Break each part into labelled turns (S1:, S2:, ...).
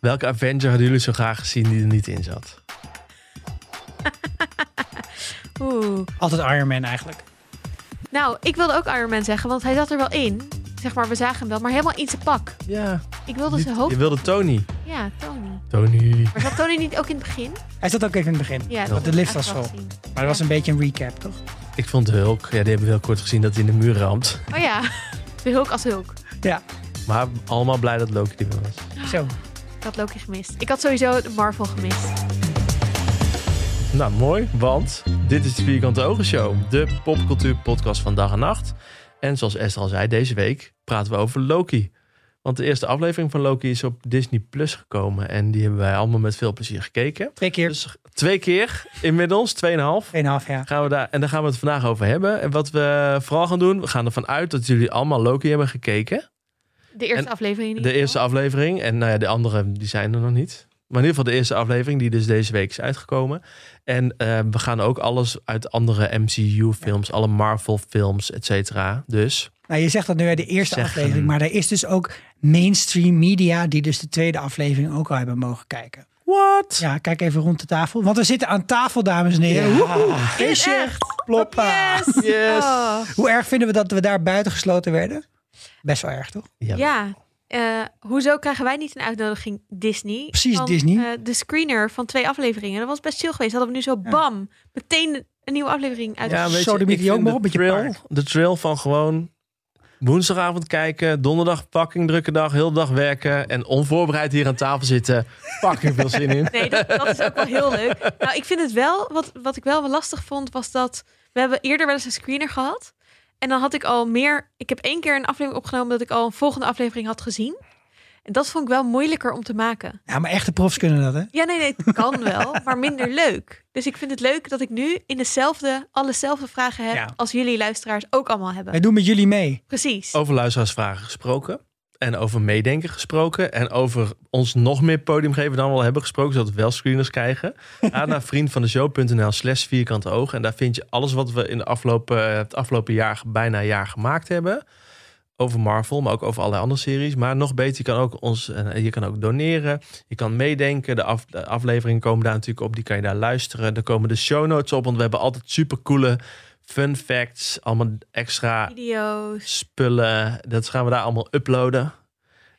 S1: Welke Avenger hadden jullie zo graag gezien die er niet in zat?
S2: Oeh.
S3: Altijd Iron Man eigenlijk.
S2: Nou, ik wilde ook Iron Man zeggen, want hij zat er wel in. Zeg maar, we zagen hem wel, maar helemaal in zijn pak.
S1: Ja,
S2: Ik wilde
S1: niet-
S2: zijn
S1: je
S2: hoofd...
S1: wilde Tony.
S2: Ja, Tony.
S1: Tony.
S2: Maar zat Tony niet ook in het begin?
S3: Hij zat ook even in het begin.
S2: Ja,
S3: Want de lift was vol.
S2: wel.
S3: Maar dat was een beetje een recap, toch?
S1: Ik vond Hulk, ja, die hebben we heel kort gezien dat hij in de muur ramt.
S2: Oh ja, de Hulk als Hulk.
S3: Ja,
S1: Maar allemaal blij dat Loki er was.
S3: zo.
S2: Ik had Loki gemist. Ik had sowieso de Marvel gemist.
S1: Nou, mooi, want dit is de Vierkante Ogen Show, de popcultuur podcast van dag en nacht. En zoals Esther al zei, deze week praten we over Loki. Want de eerste aflevering van Loki is op Disney Plus gekomen en die hebben wij allemaal met veel plezier gekeken.
S3: Twee keer.
S1: Dus twee keer inmiddels, tweeënhalf.
S3: Tweeënhalf, ja.
S1: Gaan we daar, en daar gaan we het vandaag over hebben. En wat we vooral gaan doen, we gaan ervan uit dat jullie allemaal Loki hebben gekeken.
S2: De eerste
S1: En
S2: aflevering. in
S1: De
S2: ieder
S1: eerste
S2: geval.
S1: aflevering. En nou ja, de andere die zijn er nog niet. Maar in ieder geval de eerste aflevering die dus deze week is uitgekomen. En eh, we gaan ook alles uit andere MCU-films, alle Marvel-films, et cetera. Dus
S3: Nou, je zegt dat nu hè, de eerste
S1: Zeggen.
S3: aflevering, maar er is dus ook mainstream media die dus de tweede aflevering ook al hebben mogen kijken.
S1: what?
S3: Ja, kijk even rond de tafel, want we zitten aan tafel, dames en heren.
S1: Ja.
S3: Woehoe,
S2: In
S3: visje,
S2: echt.
S3: ploppa.
S2: Yes!
S1: Yes.
S2: Oh.
S3: Hoe erg vinden we dat we daar buiten gesloten werden? Best wel erg, toch?
S1: Ja.
S2: Ja. eh, hoezo krijgen wij niet een uitnodiging Disney?
S3: Precies,
S2: van,
S3: Disney.
S2: eh, de screener van twee afleveringen. Dat was best chill geweest. Hadden we nu zo bam, meteen een nieuwe aflevering uit.
S1: Ja, weet je,
S3: Zo, dan moet
S1: ik
S3: je ook
S1: vind
S3: maar
S1: de
S3: op met je
S1: trail-
S3: paard.
S1: De trail van gewoon woensdagavond kijken, donderdag fucking drukke dag, heel de dag werken en onvoorbereid hier aan tafel zitten. Fucking veel zin in.
S2: Nee, dat, dat is ook wel heel leuk. Nou, ik vind het wel, wat, wat ik wel wel lastig vond, was dat we hebben eerder wel eens een screener gehad. En dan had ik al meer, ik heb één keer een aflevering opgenomen dat ik al een volgende aflevering had gezien. En dat vond ik wel moeilijker om te maken.
S3: Ja, maar echte profs kunnen dat, hè?
S2: Ja, nee, nee, het kan wel, maar minder leuk. Dus ik vind het leuk dat ik nu in dezelfde, allezelfde vragen heb
S3: Ja.
S2: als jullie luisteraars ook allemaal hebben.
S3: Wij doen met jullie mee.
S2: Precies.
S1: Over luisteraarsvragen gesproken. En over meedenken gesproken. En over ons nog meer podium geven dan we al hebben gesproken. Zodat we wel screeners krijgen. Ga naar vriendvandeshow.nl slash vierkante ogen. En daar vind je alles wat we in de afgelopen, het afgelopen jaar, bijna jaar gemaakt hebben. Over Marvel, maar ook over allerlei andere series. Maar nog beter, je kan ook, ons, en je kan ook doneren. Je kan meedenken. De, af, de afleveringen komen daar natuurlijk op. Die kan je daar luisteren. Er komen de show notes op. Want we hebben altijd super coole fun facts. Allemaal extra
S2: Video's.
S1: spullen. Dat gaan we daar allemaal uploaden.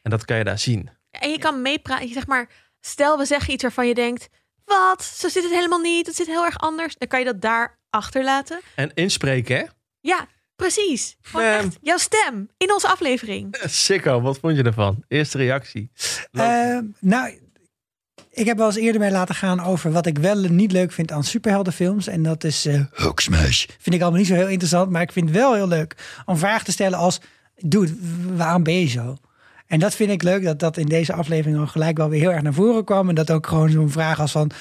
S1: En dat kan je daar zien.
S2: En je kan meepraten. Zeg maar, stel we zeggen iets waarvan je denkt: wat? Zo zit het helemaal niet. Het zit heel erg anders. Dan kan je dat daar achterlaten.
S1: En inspreken, hè?
S2: Ja, precies. Gewoon
S1: Ehm.
S2: echt jouw stem in onze aflevering.
S1: Sikko, wat vond je ervan? Eerste reactie.
S3: Eh, nou, ik heb wel eens eerder mee laten gaan over wat ik wel niet leuk vind aan superheldenfilms. En dat is eh Hugsmash. Vind ik allemaal niet zo heel interessant, maar ik vind het wel heel leuk om vragen te stellen als... Dude, w- waarom ben je zo? En dat vind ik leuk dat dat in deze aflevering al gelijk wel weer heel erg naar voren kwam. En dat ook gewoon zo'n vraag als van...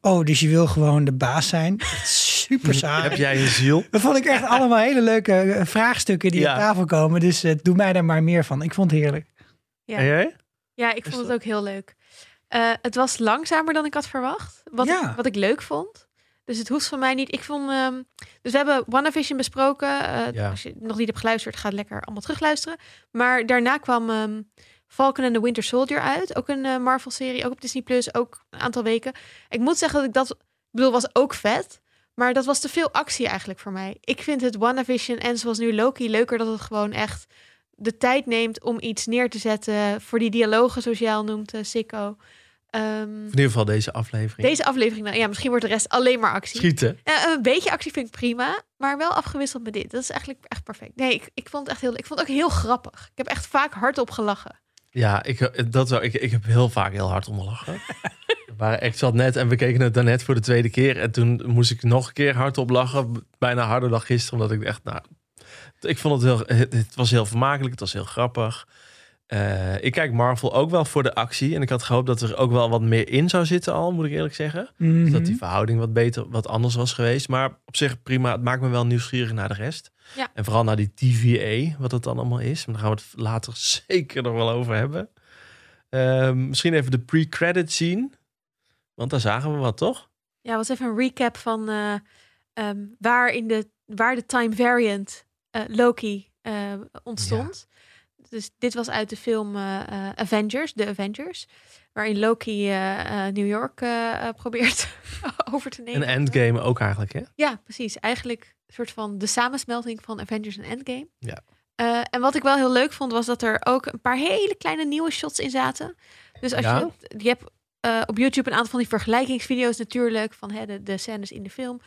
S3: Oh, dus je wil gewoon de baas zijn? Super saai.
S1: Heb jij een ziel?
S3: Dat vond ik echt allemaal hele leuke eh, vraagstukken die
S1: Ja.
S3: op tafel komen. Dus eh, doe mij daar maar meer van. Ik vond het heerlijk.
S2: Ja.
S1: En jij?
S2: Ja, ik vond het ook heel leuk. Eh, het was langzamer dan ik had verwacht. Wat,
S3: Ja.
S2: ik, wat ik leuk vond. Dus het hoeft van mij niet. Ik vond. ehm, dus we hebben WandaVision besproken. Eh,
S1: Ja.
S2: Als je nog niet hebt geluisterd, ga het lekker allemaal terugluisteren. Maar daarna kwam ehm, Falcon and the Winter Soldier uit. Ook een eh, Marvel-serie. Ook op Disney Plus. Ook een aantal weken. Ik moet zeggen dat ik dat. Ik bedoel, was ook vet. Maar dat was te veel actie eigenlijk voor mij. Ik vind het WandaVision en zoals nu Loki leuker dat het gewoon echt de tijd neemt om iets neer te zetten. Voor die dialogen, zoals jij al noemt, eh, Sikko. Ehm,
S1: In ieder geval deze aflevering.
S2: deze aflevering, nou ja, misschien wordt de rest alleen maar actie.
S1: Schieten.
S2: Eh, een beetje actie vind ik prima, maar wel afgewisseld met dit. Dat is eigenlijk echt perfect. Nee, ik, ik vond het echt heel, ik vond het ook heel grappig. Ik heb echt vaak hardop gelachen.
S1: Ja, ik, dat wel, ik, ik heb heel vaak heel hard om gelachen. We waren- ik zat net en we keken het daarnet voor de tweede keer. En toen moest ik nog een keer hardop lachen. Bijna harder dan gisteren. Omdat ik echt, nou... Ik vond het heel... Het, het was heel vermakelijk. Het was heel grappig. Eh, ik kijk Marvel ook wel voor de actie. En ik had gehoopt dat er ook wel wat meer in zou zitten al. Moet ik eerlijk zeggen. Dus
S3: Mhm.
S1: Dat
S2: Mhm.
S1: die verhouding wat beter, wat anders was geweest. Maar op zich prima. Het maakt me wel nieuwsgierig naar de rest.
S2: Ja.
S1: En vooral naar die TVA, wat dat dan allemaal is. Maar daar gaan we het later zeker nog wel over hebben. Ehm, misschien even de pre-credit scene. Want daar zagen we wat, toch?
S2: Ja, was even een recap van eh, ehm, waar, in de, waar de time variant eh, Loki eh, ontstond. Dus dit was uit de film eh, eh, Avengers, The Avengers. Waarin Loki eh, eh, New York eh, eh, probeert over te nemen.
S1: Een endgame ook eigenlijk, hè?
S2: Ja, precies. Eigenlijk een soort van de samensmelting van Avengers en Endgame.
S1: Ja.
S2: Eh, en wat ik wel heel leuk vond, was dat er ook een paar hele kleine nieuwe shots in zaten. Dus als
S1: Ja.
S2: je, je hebt eh, op YouTube een aantal van die vergelijkingsvideo's natuurlijk, van hè, de, de scènes in de film.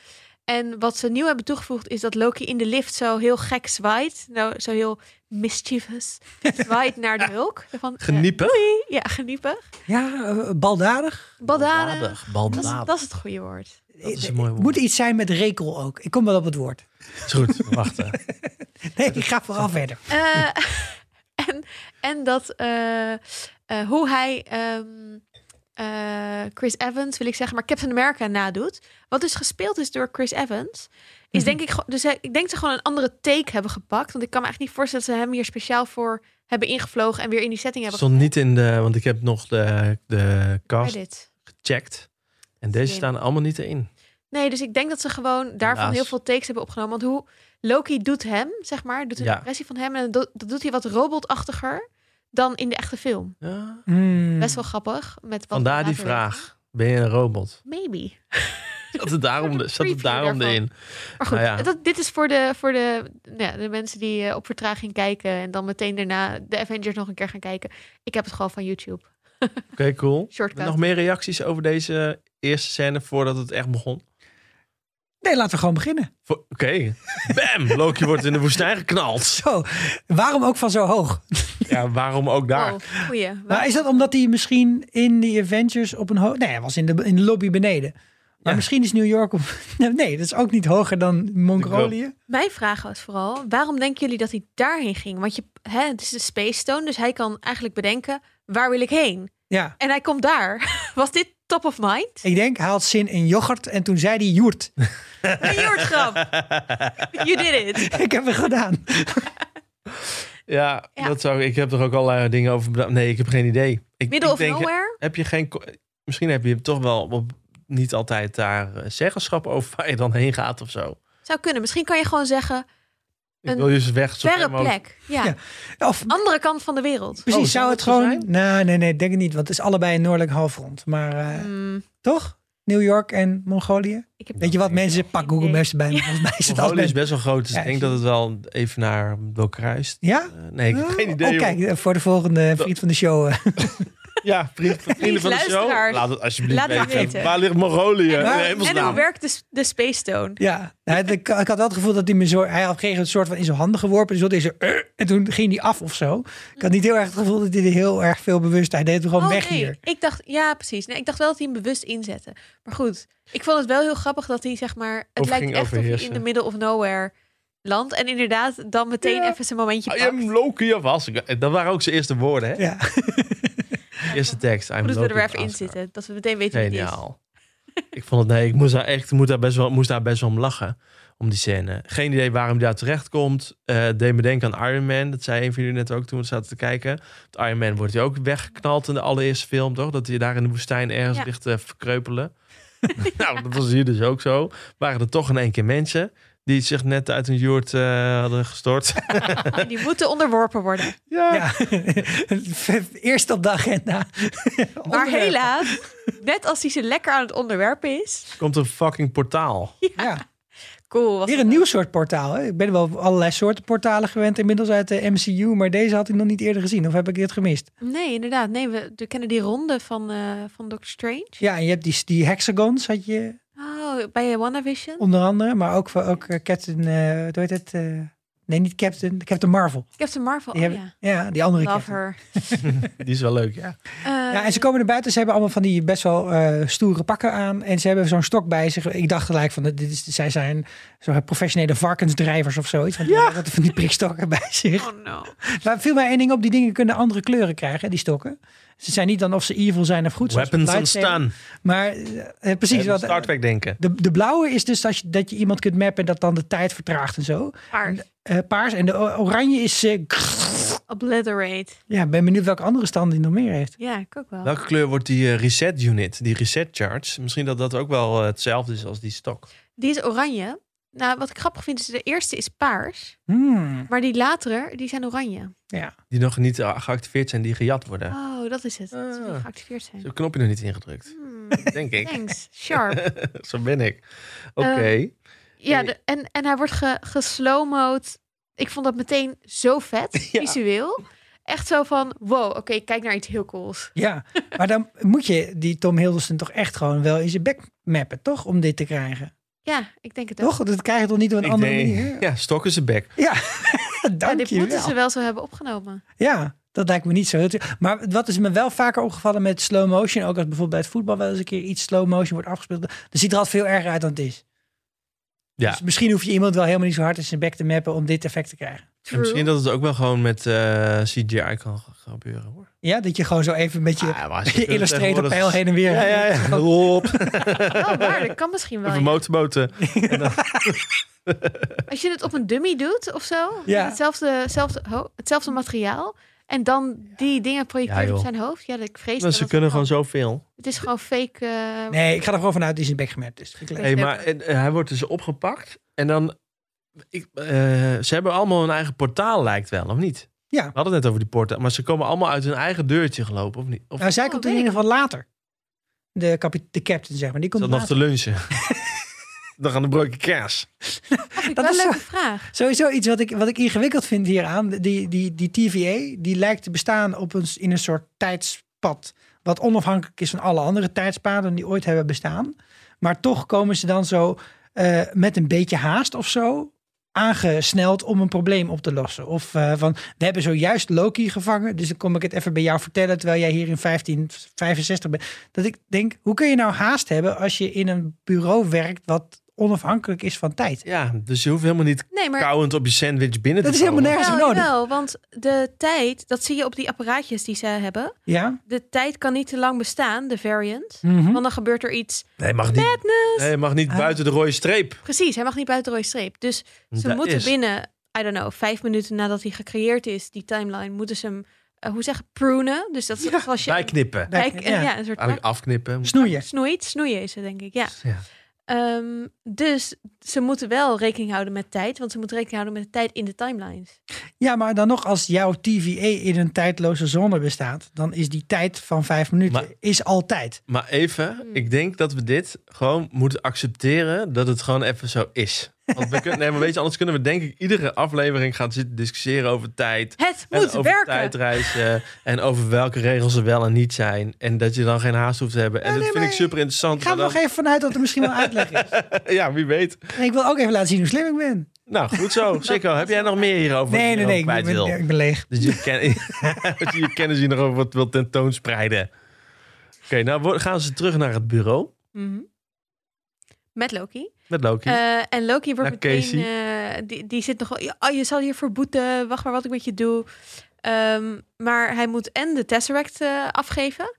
S2: En wat ze nieuw hebben toegevoegd, is dat Loki in de lift zo heel gek zwaait. Nou, zo heel mischievous. Zwaait naar de hulk. Van, eh,
S1: Geniepen.
S2: doei. ja, geniepig.
S3: Ja, eh, baldadig.
S2: Baldadig. Dat is,
S1: Baldadig.
S2: dat is eh, het goede woord.
S1: Dat is een mooi woord.
S3: Eh, Moet iets zijn met rekel ook. Ik kom wel op het woord.
S1: Is goed, we wachten.
S3: Nee, ik ga vooral verder.
S2: Eh, en, en dat eh, eh, hoe hij ehm, eh, Chris Evans, wil ik zeggen, maar Captain America nadoet. Wat dus gespeeld is door Chris Evans.
S1: Mhm.
S2: Is denk ik, gewoon- dus hij- ik denk dat ze gewoon een andere take hebben gepakt. Want ik kan me eigenlijk niet voorstellen dat ze hem hier speciaal voor hebben ingevlogen en weer in die setting hebben
S1: Stond niet in de, want ik heb nog de, de cast
S2: dit.
S1: gecheckt. En deze
S2: Slim.
S1: staan allemaal niet erin.
S2: Nee, dus ik denk dat ze gewoon daarvan
S1: Helaas.
S2: heel veel takes hebben opgenomen. Want hoe Loki doet hem, zeg maar, doet een
S1: Ja.
S2: impressie van hem. En dat dat doet hij wat robotachtiger dan in de echte film.
S1: Ja.
S3: Hmm.
S2: Best wel grappig. Met wat
S1: Vandaar die
S2: later werd.
S1: vraag. Ben je een robot?
S2: Maybe.
S1: Zat het daarom,
S2: Een
S1: zat het
S2: preview
S1: daarom
S2: daarvan.
S1: in?
S2: Maar goed,
S1: Nou ja.
S2: dat, dit is voor, de, voor de, nou ja, de mensen die eh, op vertraging kijken en dan meteen daarna de Avengers nog een keer gaan kijken. Ik heb het gewoon van YouTube.
S1: Oké, cool.
S2: Shortcut.
S1: Nog meer reacties over deze eerste scène voordat het echt begon?
S3: Nee, laten we gewoon beginnen.
S1: Vo- Oké. Bam! Loki wordt in de woestijn geknald.
S3: Zo, waarom ook van zo hoog?
S1: Ja, waarom ook daar?
S2: Oh, goeie.
S3: Maar is dat omdat hij misschien in die Avengers op een hoog... Nee, hij was in de, in de lobby beneden.
S1: Ja.
S3: Maar misschien is New York op... Nee, dat is ook niet hoger dan Mongolië.
S2: Mijn vraag was vooral, waarom denken jullie dat hij daarheen ging? Want je, hè, het is de Space Stone, dus hij kan eigenlijk bedenken, waar wil ik heen?
S3: Ja,
S2: En hij komt daar. Was dit top of mind?
S3: ik denk, hij had zin in yoghurt en toen zei hij joert.
S2: Een joertgrap. You did it.
S3: ik heb het gedaan.
S1: Ja,
S2: Ja.
S1: Dat zou, ik heb er ook allerlei dingen over bedacht. Nee, ik heb geen idee. Ik,
S2: Middle
S1: ik
S2: of nowhere?
S1: Heb je geen, co- misschien heb je toch wel op- niet altijd daar eh, zeggenschap over waar je dan heen gaat of zo.
S2: Zou kunnen. Misschien kan je gewoon zeggen,
S1: Ik
S2: Een
S1: wil dus weg. zo ver
S2: verre
S1: mogelijk.
S2: plek. Ja.
S3: Ja. Of
S2: Andere kant van de wereld.
S3: precies,
S1: zou
S3: zou
S1: dat
S3: het
S1: zo
S3: gewoon...
S1: zijn?
S3: Nou, nee, nee, denk ik niet. Want het is allebei een noordelijk halfrond. Maar eh,
S2: Hmm,
S3: toch? New York en Mongolië?
S2: ik heb
S3: Weet je wat, mensen? Pak Google
S2: idee.
S3: Maps erbij. want Volgens mij is het
S1: Mongolië
S3: altijd...
S1: is best wel groot, dus
S3: Ja,
S1: ik denk
S3: is-
S1: dat het wel even naar wel kruist.
S3: Ja?
S1: Eh, nee, ik heb geen idee.
S3: Oh,
S1: joh.
S3: kijk, voor de volgende vriend van de show. eh.
S1: Ja, vriend, vrienden van de show.
S2: luisteraars.
S1: Laat het alsjeblieft
S2: Laat het
S1: weten.
S2: weten.
S1: Waar ligt Mongolië?
S3: En-
S1: In
S3: en-
S1: hemelsnaam.
S2: En hoe werkt de, de Space Stone?
S3: Ja, nou, het- ik, ik had wel het gevoel dat hij me zo. Hij had gegeven een soort van in zijn handen geworpen. Dus dat is er, eh, en toen ging hij af of zo. Ik had niet heel erg het gevoel dat hij er heel erg veel bewust. Hij deed hem gewoon
S2: Oh,
S3: weg
S2: nee.
S3: hier.
S2: Ik dacht, ja, precies. Nee, ik dacht wel dat hij hem bewust inzette. Maar goed, ik vond het wel heel grappig dat hij, zeg maar, het
S1: Of
S2: lijkt
S1: ging
S2: echt of hij in
S1: overheersen.
S2: de middle of nowhere landt. En inderdaad, dan meteen
S1: Ja.
S2: even zijn momentje
S3: Oh,
S1: I
S2: pakt.
S1: am Ah, Loki of Asgard. Dat waren ook zijn eerste woorden, hè?
S3: Ja.
S1: Eerste tekst. I am
S2: Goed dat Oh, dus we
S1: Loki
S2: er
S1: of
S2: weer even in
S1: Asgard.
S2: zitten. Dat we meteen weten wie het is.
S1: Geniaal. ik vond het, nee, ik moest daar echt moet daar best wel, moest daar best wel om lachen. Om die scène. Geen idee waarom hij daar terecht komt. Eh deed me denken aan Iron Man. Dat zei een van jullie net ook toen we zaten te kijken. Want Iron Man wordt hij ook weggeknald in de allereerste film, toch? Dat hij daar in de woestijn ergens
S2: Ja.
S1: ligt te verkreupelen. nou, dat was hier dus ook zo. Waren er toch in één keer mensen die zich net uit een joert eh, hadden gestort.
S2: En Ah, die moeten onderworpen worden.
S1: ja.
S3: ja. Eerst op de agenda.
S2: Maar
S3: Onderwerp.
S2: helaas, net als hij ze lekker aan het onderwerpen is.
S1: Komt een fucking portaal.
S3: Ja.
S2: Cool. Was
S3: Weer een nieuw soort portaal. Hè? Ik ben wel op allerlei soorten portalen gewend inmiddels uit de MCU. Maar deze had ik nog niet eerder gezien. Of heb ik dit gemist?
S2: Nee, inderdaad. Nee, we, we kennen die ronde van, eh van Doctor Strange.
S3: Ja, en je hebt die, die hexagons, had je
S2: Oh, bij eh, WandaVision.
S3: onder andere. Maar ook, voor- ook eh, Captain. eh hoe heet het? eh, nee, niet Captain. Captain Marvel.
S2: Captain Marvel.
S3: Die
S2: Oh,
S3: hebben-
S2: ja.
S3: ja, die andere
S2: Love
S3: Captain.
S2: her.
S1: Die is wel leuk, ja.
S2: Eh,
S3: Ja, en ze komen er buiten. Ze hebben allemaal van die best wel eh, stoere pakken aan. En ze hebben zo'n stok bij zich. Ik dacht gelijk van, dit is, zij zijn zo'n professionele varkensdrijvers of zoiets. Want die hebben altijd van die prikstokken bij zich.
S2: Oh no.
S3: Maar viel mij één ding op. Die dingen kunnen andere kleuren krijgen, die stokken. Ze zijn niet dan of ze evil zijn of goed. zoals
S1: Weapons on
S3: lightsaber.
S1: stun.
S3: Maar eh, eh, precies.
S1: Precies
S3: Wat,
S1: Star Trek denken.
S3: de, de blauwe is dus dat je, dat je iemand kunt mappen en dat dan de tijd vertraagt en zo.
S2: Paard.
S3: Eh, paars. En de o- oranje is... eh,
S2: Obliterate.
S3: ja, ik ben benieuwd welke andere stand die nog meer heeft.
S2: Ja, ik ook wel.
S1: Welke kleur wordt die eh, reset unit, die reset charge? Misschien dat dat ook wel eh, hetzelfde is als die stok.
S2: Die is oranje. Nou, wat ik grappig vind is, de eerste is paars.
S3: Hmm,
S2: Maar die latere, die zijn oranje.
S3: ja.
S1: Die nog niet eh, geactiveerd zijn, die gejat worden.
S2: Oh, dat is het. Dat ze
S1: Ah.
S2: niet geactiveerd zijn.
S1: Zo'n knopje nog niet ingedrukt.
S2: Hmm,
S1: Denk ik.
S2: thanks. Sharp.
S1: Zo ben
S3: Eh,
S1: ik. Oké.
S2: Ja,
S1: Nee.
S2: de- en, en hij wordt ge, geslowmo'd. Ik vond dat meteen zo vet,
S1: Ja.
S2: visueel. Echt zo van, wow, oké, ik kijk naar iets heel cools.
S3: Ja, maar dan moet je die Tom Hiddleston toch echt gewoon wel in zijn bek mappen, toch? Om dit te krijgen.
S2: Ja, ik denk het ook.
S3: Toch? Dat krijg je toch niet op een
S1: Ik
S3: andere
S1: denk-
S3: manier?
S1: Ja, stokken ze bek.
S2: Ja,
S3: Dank
S2: dit
S3: je
S2: moeten ze
S3: wel.
S2: wel zo hebben opgenomen.
S3: Ja, dat lijkt me niet zo heel... te- Maar wat is me wel vaker opgevallen met slow motion, ook als bijvoorbeeld bij het voetbal wel eens een keer iets slow motion wordt afgespeeld, dan ziet er altijd veel erger uit dan het is.
S1: Ja.
S3: Dus misschien hoef je iemand wel helemaal niet zo hard in zijn bek te mappen om dit effect te krijgen.
S1: En
S2: True.
S1: misschien dat het ook wel gewoon met eh, CGI kan ge- gebeuren hoor.
S3: Ja, dat je gewoon zo even met je,
S1: Ah, maar als
S3: je
S1: kunt
S3: illustrator
S1: tegenwoordig-
S3: pijl heen en weer.
S1: Ja, ja, ja. Rob.
S2: Oh, waar, dat kan misschien wel.
S1: Even
S2: ja.
S1: motorboten.
S2: Als je het op een dummy doet of zo, met
S3: Ja.
S2: hetzelfde, hetzelfde, ho- hetzelfde materiaal, en dan die dingen projecteren
S1: Ja, joh.
S2: op zijn hoofd, ja, dat ik vrees
S1: Maar
S2: dat
S1: ze
S2: dat
S1: kunnen
S2: kan.
S1: gewoon zoveel.
S2: Het is gewoon fake. eh,
S3: Nee, ik ga er gewoon vanuit die zijn bek gemapt is. dus. Vind ik leuk.
S1: Hey, maar en, eh, hij wordt dus opgepakt. En dan. Ik, eh, ze hebben allemaal hun eigen portaal, lijkt wel, of niet?
S3: Ja.
S1: We hadden het net over die portaal. Maar ze komen allemaal uit hun eigen deurtje gelopen, of niet? Of
S3: Nou, zij
S2: Oh,
S3: komt
S2: weet
S3: in
S2: ik
S3: ieder geval later. De, kapit- de captain, zeg maar. Die
S1: is
S3: komt
S1: dat nog te
S3: later.
S1: lunchen? dan gaan de broodje kaas.
S2: vind ik
S3: dat
S2: wel
S3: is
S2: een
S3: zo-
S2: leuke vraag.
S3: Sowieso iets wat ik, wat ik ingewikkeld vind hieraan. Die, die, die TVA, die lijkt te bestaan op een, s- in een soort tijdspad. Wat onafhankelijk is van alle andere tijdspaden die ooit hebben bestaan. Maar toch komen ze dan zo eh, met een beetje haast of zo aangesneld om een probleem op te lossen. Of eh, van, we hebben zojuist Loki gevangen, dus dan kom ik het even bij jou vertellen... terwijl jij hier in 1565 bent. Dat ik denk, hoe kun je nou haast hebben als je in een bureau werkt... wat onafhankelijk is van tijd?
S1: Ja, dus je hoeft helemaal niet
S2: Nee, maar
S1: kauwend op je sandwich binnen
S3: Dat
S1: te
S3: is helemaal
S1: komen.
S3: nergens voor
S2: wel,
S3: nodig.
S2: wel, want de tijd, dat zie je op die apparaatjes die ze hebben.
S3: Ja?
S2: De tijd kan niet te lang bestaan, de variant.
S3: Mhm.
S2: Want dan gebeurt er iets.
S1: Nee, mag niet. Nee, mag niet
S3: Ah.
S1: buiten de rode streep.
S2: Precies, hij mag niet buiten de rode streep. Dus ze
S1: Dat
S2: moeten
S1: is-
S2: binnen, I don't know, vijf minuten nadat hij gecreëerd is, die timeline, moeten ze hem, eh, hoe zeg je, prunen. Dus dat is zoals je.
S1: Bijknippen.
S2: bij- eh,
S3: Ja.
S2: ja. een soort
S1: Eigenlijk afknippen.
S3: Snoeien.
S2: snoeit. Snoeien is het, denk ik, ja.
S1: Ja.
S2: Ehm, dus ze moeten wel rekening houden met tijd, want ze moeten rekening houden met de tijd in de timelines.
S3: Ja, maar dan nog, als jouw TVA in een tijdloze zone bestaat, dan is die tijd van vijf minuten
S1: Maar-
S3: is altijd.
S1: Maar even,
S3: Hmm.
S1: ik denk dat we dit gewoon moeten accepteren dat het gewoon even zo is. Want we kunnen, nee, maar weet je, anders kunnen we denk ik iedere aflevering gaan zitten discussiëren over tijd.
S2: Het
S1: En
S2: moet
S1: over
S2: werken.
S1: tijdreizen en over welke regels er wel en niet zijn. En dat je dan geen haast hoeft te hebben. En
S3: Ja,
S1: dat
S3: nee,
S1: vind ik
S3: maar
S1: super interessant.
S3: Ik ga er
S1: maar
S3: nog even vanuit dat er misschien wel uitleg is.
S1: dan- ja, wie weet.
S3: En ik wil ook even laten zien hoe slim ik ben.
S1: Nou, goed zo. Sikko, heb jij nog meer hierover?
S3: Nee, nee,
S1: wat
S3: nee,
S1: je
S3: ik
S1: nog
S3: ben,
S1: kwijt wil?
S3: ik ben leeg.
S1: Dus je, ken, dat je je kennis hier nog over wat wil tentoonspreiden. Oké, nou wo- gaan ze terug naar het bureau
S2: Mhm. Met Loki.
S1: met Loki.
S2: Eh, en Loki wordt
S1: Naar
S2: meteen... eh, die, die zit nogal... "Ja, Oh, je zal hier verboeten. Wacht maar wat ik met je doe. Ehm, maar hij moet en de Tesseract eh, afgeven.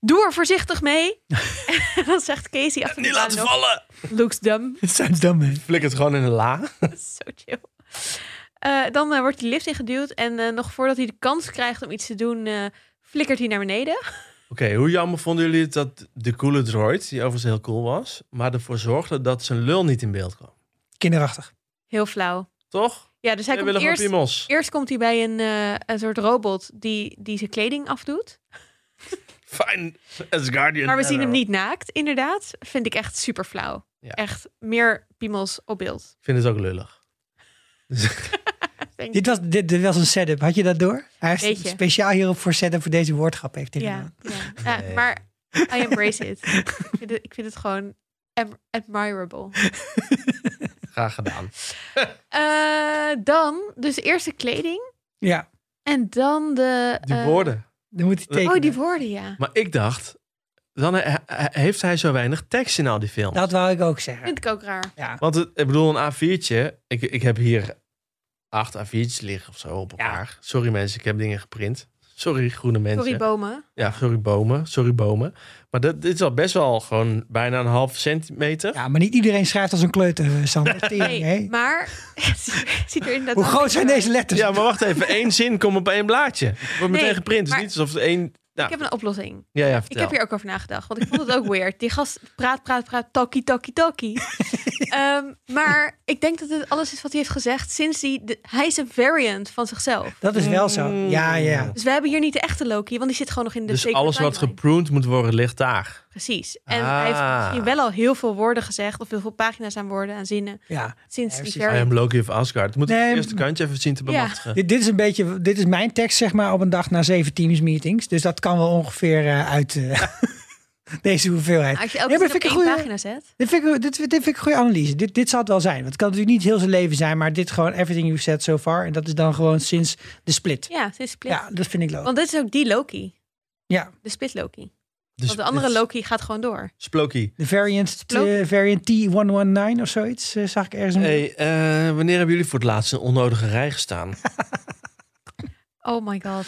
S2: Doe er voorzichtig mee. en dan zegt Casey achter de
S1: niet
S2: baan
S1: laten
S2: nog...
S1: vallen!
S2: Looks dumb.
S3: Het zijn dom, hè?
S1: Flik het gewoon in de la.
S2: Zo chill. Eh, dan eh, wordt die lift ingeduwd. En eh, nog voordat hij de kans krijgt om iets te doen... eh, flikkert hij naar beneden.
S1: Oké, hoe jammer vonden jullie het dat de coole droid, die overigens heel cool was, maar ervoor zorgde dat zijn lul niet in beeld kwam?
S3: Kinderachtig.
S2: Heel flauw.
S1: Toch?
S2: Ja, dus hij
S1: Wij
S2: komt
S1: willen
S2: eerst...
S1: gewoon piemels.
S2: Eerst komt hij bij een, eh, een soort robot die, die zijn kleding afdoet.
S1: Fijn, as Guardian.
S2: Maar we zien hem niet naakt, inderdaad. Vind ik echt super flauw.
S1: Ja.
S2: Echt meer piemels op beeld.
S1: Ik vind het ook lullig. Dus-
S2: Denk
S3: Dit
S2: ik.
S3: was, dit, dit was een setup. Had je dat door? Hij is
S2: Beetje.
S3: speciaal hierop voor setup voor deze woordgrap heeft hij
S2: ja,
S3: gedaan.
S2: ja. Ja,
S1: Nee.
S2: Maar I embrace it. ik, vind het, ik vind het gewoon am- admirable.
S1: Graag gedaan.
S2: Eh, dan, dus eerst de kleding.
S3: Ja,
S2: En dan de...
S1: Die
S2: eh,
S1: woorden.
S3: dan moet hij tekenen.
S2: Oh, die woorden, ja.
S1: Maar ik dacht, dan he- he- heeft hij zo weinig tekst in al die
S2: Nou-
S1: films.
S3: Dat wou ik ook zeggen.
S2: Vind ik ook raar.
S3: Ja.
S1: Want het, ik bedoel, een A4'tje, ik, ik heb hier acht A4'tjes liggen of zo op elkaar. Sorry mensen, ik heb dingen geprint. Sorry groene mensen.
S2: Sorry, bomen.
S1: Ja, sorry bomen, sorry bomen. Maar dat, dit is al best wel gewoon bijna een half centimeter.
S3: ja, maar niet iedereen schrijft als een kleuter, eh, Sander. Tering,
S2: Nee,
S3: hè?
S2: maar... ziet er inderdaad
S3: Hoe
S2: ook
S3: groot
S2: niet
S3: zijn
S2: uit.
S3: deze letters?
S1: Ja, maar wacht even. één zin komt op één blaadje. Wordt meteen
S2: Nee,
S1: geprint. Het is
S2: maar-
S1: niet alsof het één Ja.
S2: Ik heb een oplossing.
S1: Ja, ja,
S2: Ik
S1: vertel.
S2: heb hier ook over nagedacht, want ik vond het ook weird. Die gast praat, praat, praat, talkie, talkie, talkie. Ehm, maar ik denk dat dit alles is wat hij heeft gezegd sinds hij... de- hij is een variant van zichzelf.
S3: Dat is wel zo. Ja, ja.
S2: Dus we hebben hier niet de echte Loki, want die zit gewoon nog in de
S1: Dus
S2: sacred
S1: alles wat
S2: timeline.
S1: gepruned moet worden ligt daar.
S2: Precies. En
S1: Ah.
S2: hij heeft misschien wel al heel veel woorden gezegd, of heel veel pagina's aan woorden, aan zinnen,
S3: ja.
S2: sinds
S3: Ja,
S2: die
S3: precies.
S1: I
S2: variant.
S1: am Loki of Asgard. Moet ik
S3: Nee,
S1: het eerste kantje even zien te
S2: Ja.
S1: bemachtigen.
S3: Dit, dit is een beetje, dit is mijn tekst zeg maar op een dag na zeven teams meetings. Dus dat kan wel ongeveer eh, uit eh, deze hoeveelheid.
S2: Als je elke
S3: Ja, maar
S2: keer
S3: vind ik
S2: op
S3: een
S2: één
S3: goeie-
S2: pagina zet.
S3: Dit vind ik, dit, dit vind ik een goede analyse. Dit, dit zal het wel zijn. Want het kan natuurlijk niet heel zijn leven zijn, maar dit gewoon everything you've said so far. En dat is dan gewoon sinds de split.
S2: Ja, sinds split.
S3: Ja, dat vind ik
S1: Oh.
S3: leuk.
S2: Want dit is ook die Loki,
S3: Ja,
S2: de split Loki.
S1: Dus
S2: Want de andere
S1: dit-
S2: Loki gaat gewoon door.
S1: Sploky.
S3: de variant,
S2: Klopt.
S3: eh, variant T119 of zoiets eh, zag ik ergens. een-
S1: Hey, eh, wanneer hebben jullie voor het laatst in een onnodige rij gestaan?
S2: Oh my god.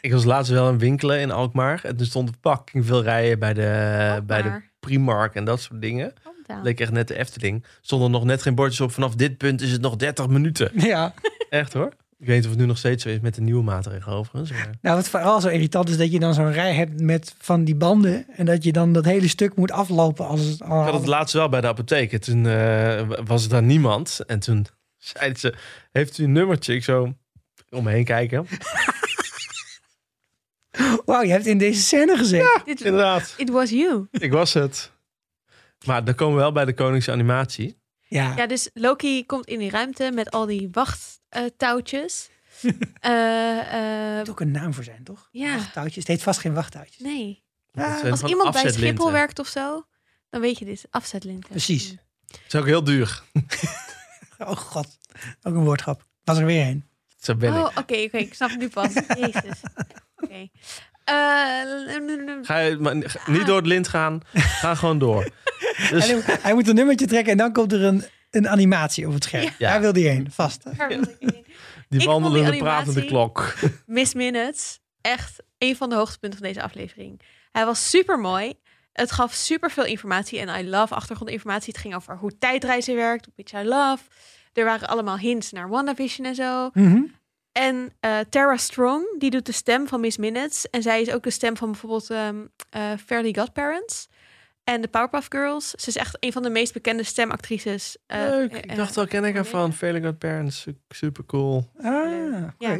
S1: ik was laatst wel in winkelen in Alkmaar. En toen stonden fucking veel rijen bij de,
S2: Alkmaar.
S1: Eh, bij de Primark en dat soort dingen.
S2: Calm down.
S1: Leek echt net de Efteling. Stonden nog net geen bordjes op. Vanaf dit punt is het nog 30 minuten.
S3: Ja,
S1: Echt hoor. Ik weet niet of het nu nog steeds zo is met de nieuwe maatregelen overigens. maar-
S3: nou wat vooral zo irritant is dat je dan zo'n rij hebt met van die banden. En dat je dan dat hele stuk moet aflopen als het al.
S1: Ik
S2: Oh.
S1: had het laatst wel bij de apotheek. En toen eh, was er daar niemand. En toen zeiden ze, heeft u een nummertje? Ik zo om me heen kijken.
S3: Wauw, je hebt in deze scène gezeten.
S2: Dit,
S1: Inderdaad,
S2: it was you.
S1: ik was het. Maar dan komen we wel bij de Koningse Animatie.
S3: Ja.
S2: Ja, dus Loki komt in die ruimte met al die wachttouwtjes. Eh, eh,
S3: moet ook een naam voor zijn, toch?
S2: Ja.
S3: Wachttouwtjes. Het heet vast geen wachttouwtjes.
S2: nee.
S1: Dat
S3: Ah,
S1: zijn
S2: Als
S1: gewoon
S2: iemand bij
S1: afzetlinten.
S2: Schiphol werkt of zo, dan weet je dit. Afzetlinten. Mm.
S3: Precies.
S1: Het is ook heel duur.
S3: Oh god, ook een woordgrap. Was er weer een.
S1: Zo ben
S2: oh,
S1: ik.
S2: oké, oké. ik snap het nu pas. Jezus. Oké. Eh, n- n- n-
S1: Ga je, maar,
S2: Ah.
S1: ga- niet door het lint gaan. Ga gewoon door. Dus,
S3: Hij, moet- hij moet een nummertje trekken en dan komt er een, een animatie op het scherm.
S1: Ja.
S3: Daar wil hij heen, vast.
S2: daar wil ik in.
S1: die
S2: Ik vond die
S1: wandelende,
S2: animatie-
S1: pratende klok.
S2: Miss Minutes. Echt een van de hoogtepunten van deze aflevering. Hij was super mooi. Het gaf super veel informatie. En I love achtergrondinformatie. Het ging over hoe tijdreizen werkt. Which I love. Er waren allemaal hints naar WandaVision en zo.
S3: Mhm.
S2: En eh, Tara Strong, die doet de stem van Miss Minutes. En zij is ook de stem van bijvoorbeeld ehm eh, Fairly Godparents. En de Powerpuff Girls. Ze is echt een van de meest bekende stemactrices. eh,
S1: Leuk.
S2: eh,
S1: Ik
S2: eh,
S1: dacht al, ken ik haar van. Failing Got Parents. Super cool.
S3: Ah, oké.
S2: Ja.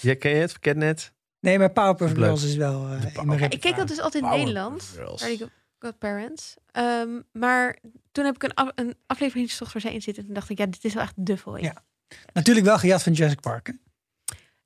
S1: Ja, ken je het? Ken je het?
S3: Nee, maar Powerpuff
S1: Leuk.
S3: Girls is wel eh,
S1: De
S3: in mijn
S1: Powerpuff-
S2: Ik keek dat dus altijd in
S1: Powerpuff
S2: Nederland.
S1: Girls.
S2: Fairly Go- Godparents. Ehm, maar toen heb ik een, af- een aflevering gezocht waar zij in zit. En toen dacht ik, ja, dit is wel echt dubbel.
S3: Ja. Natuurlijk wel gejat van Jurassic Park. hè?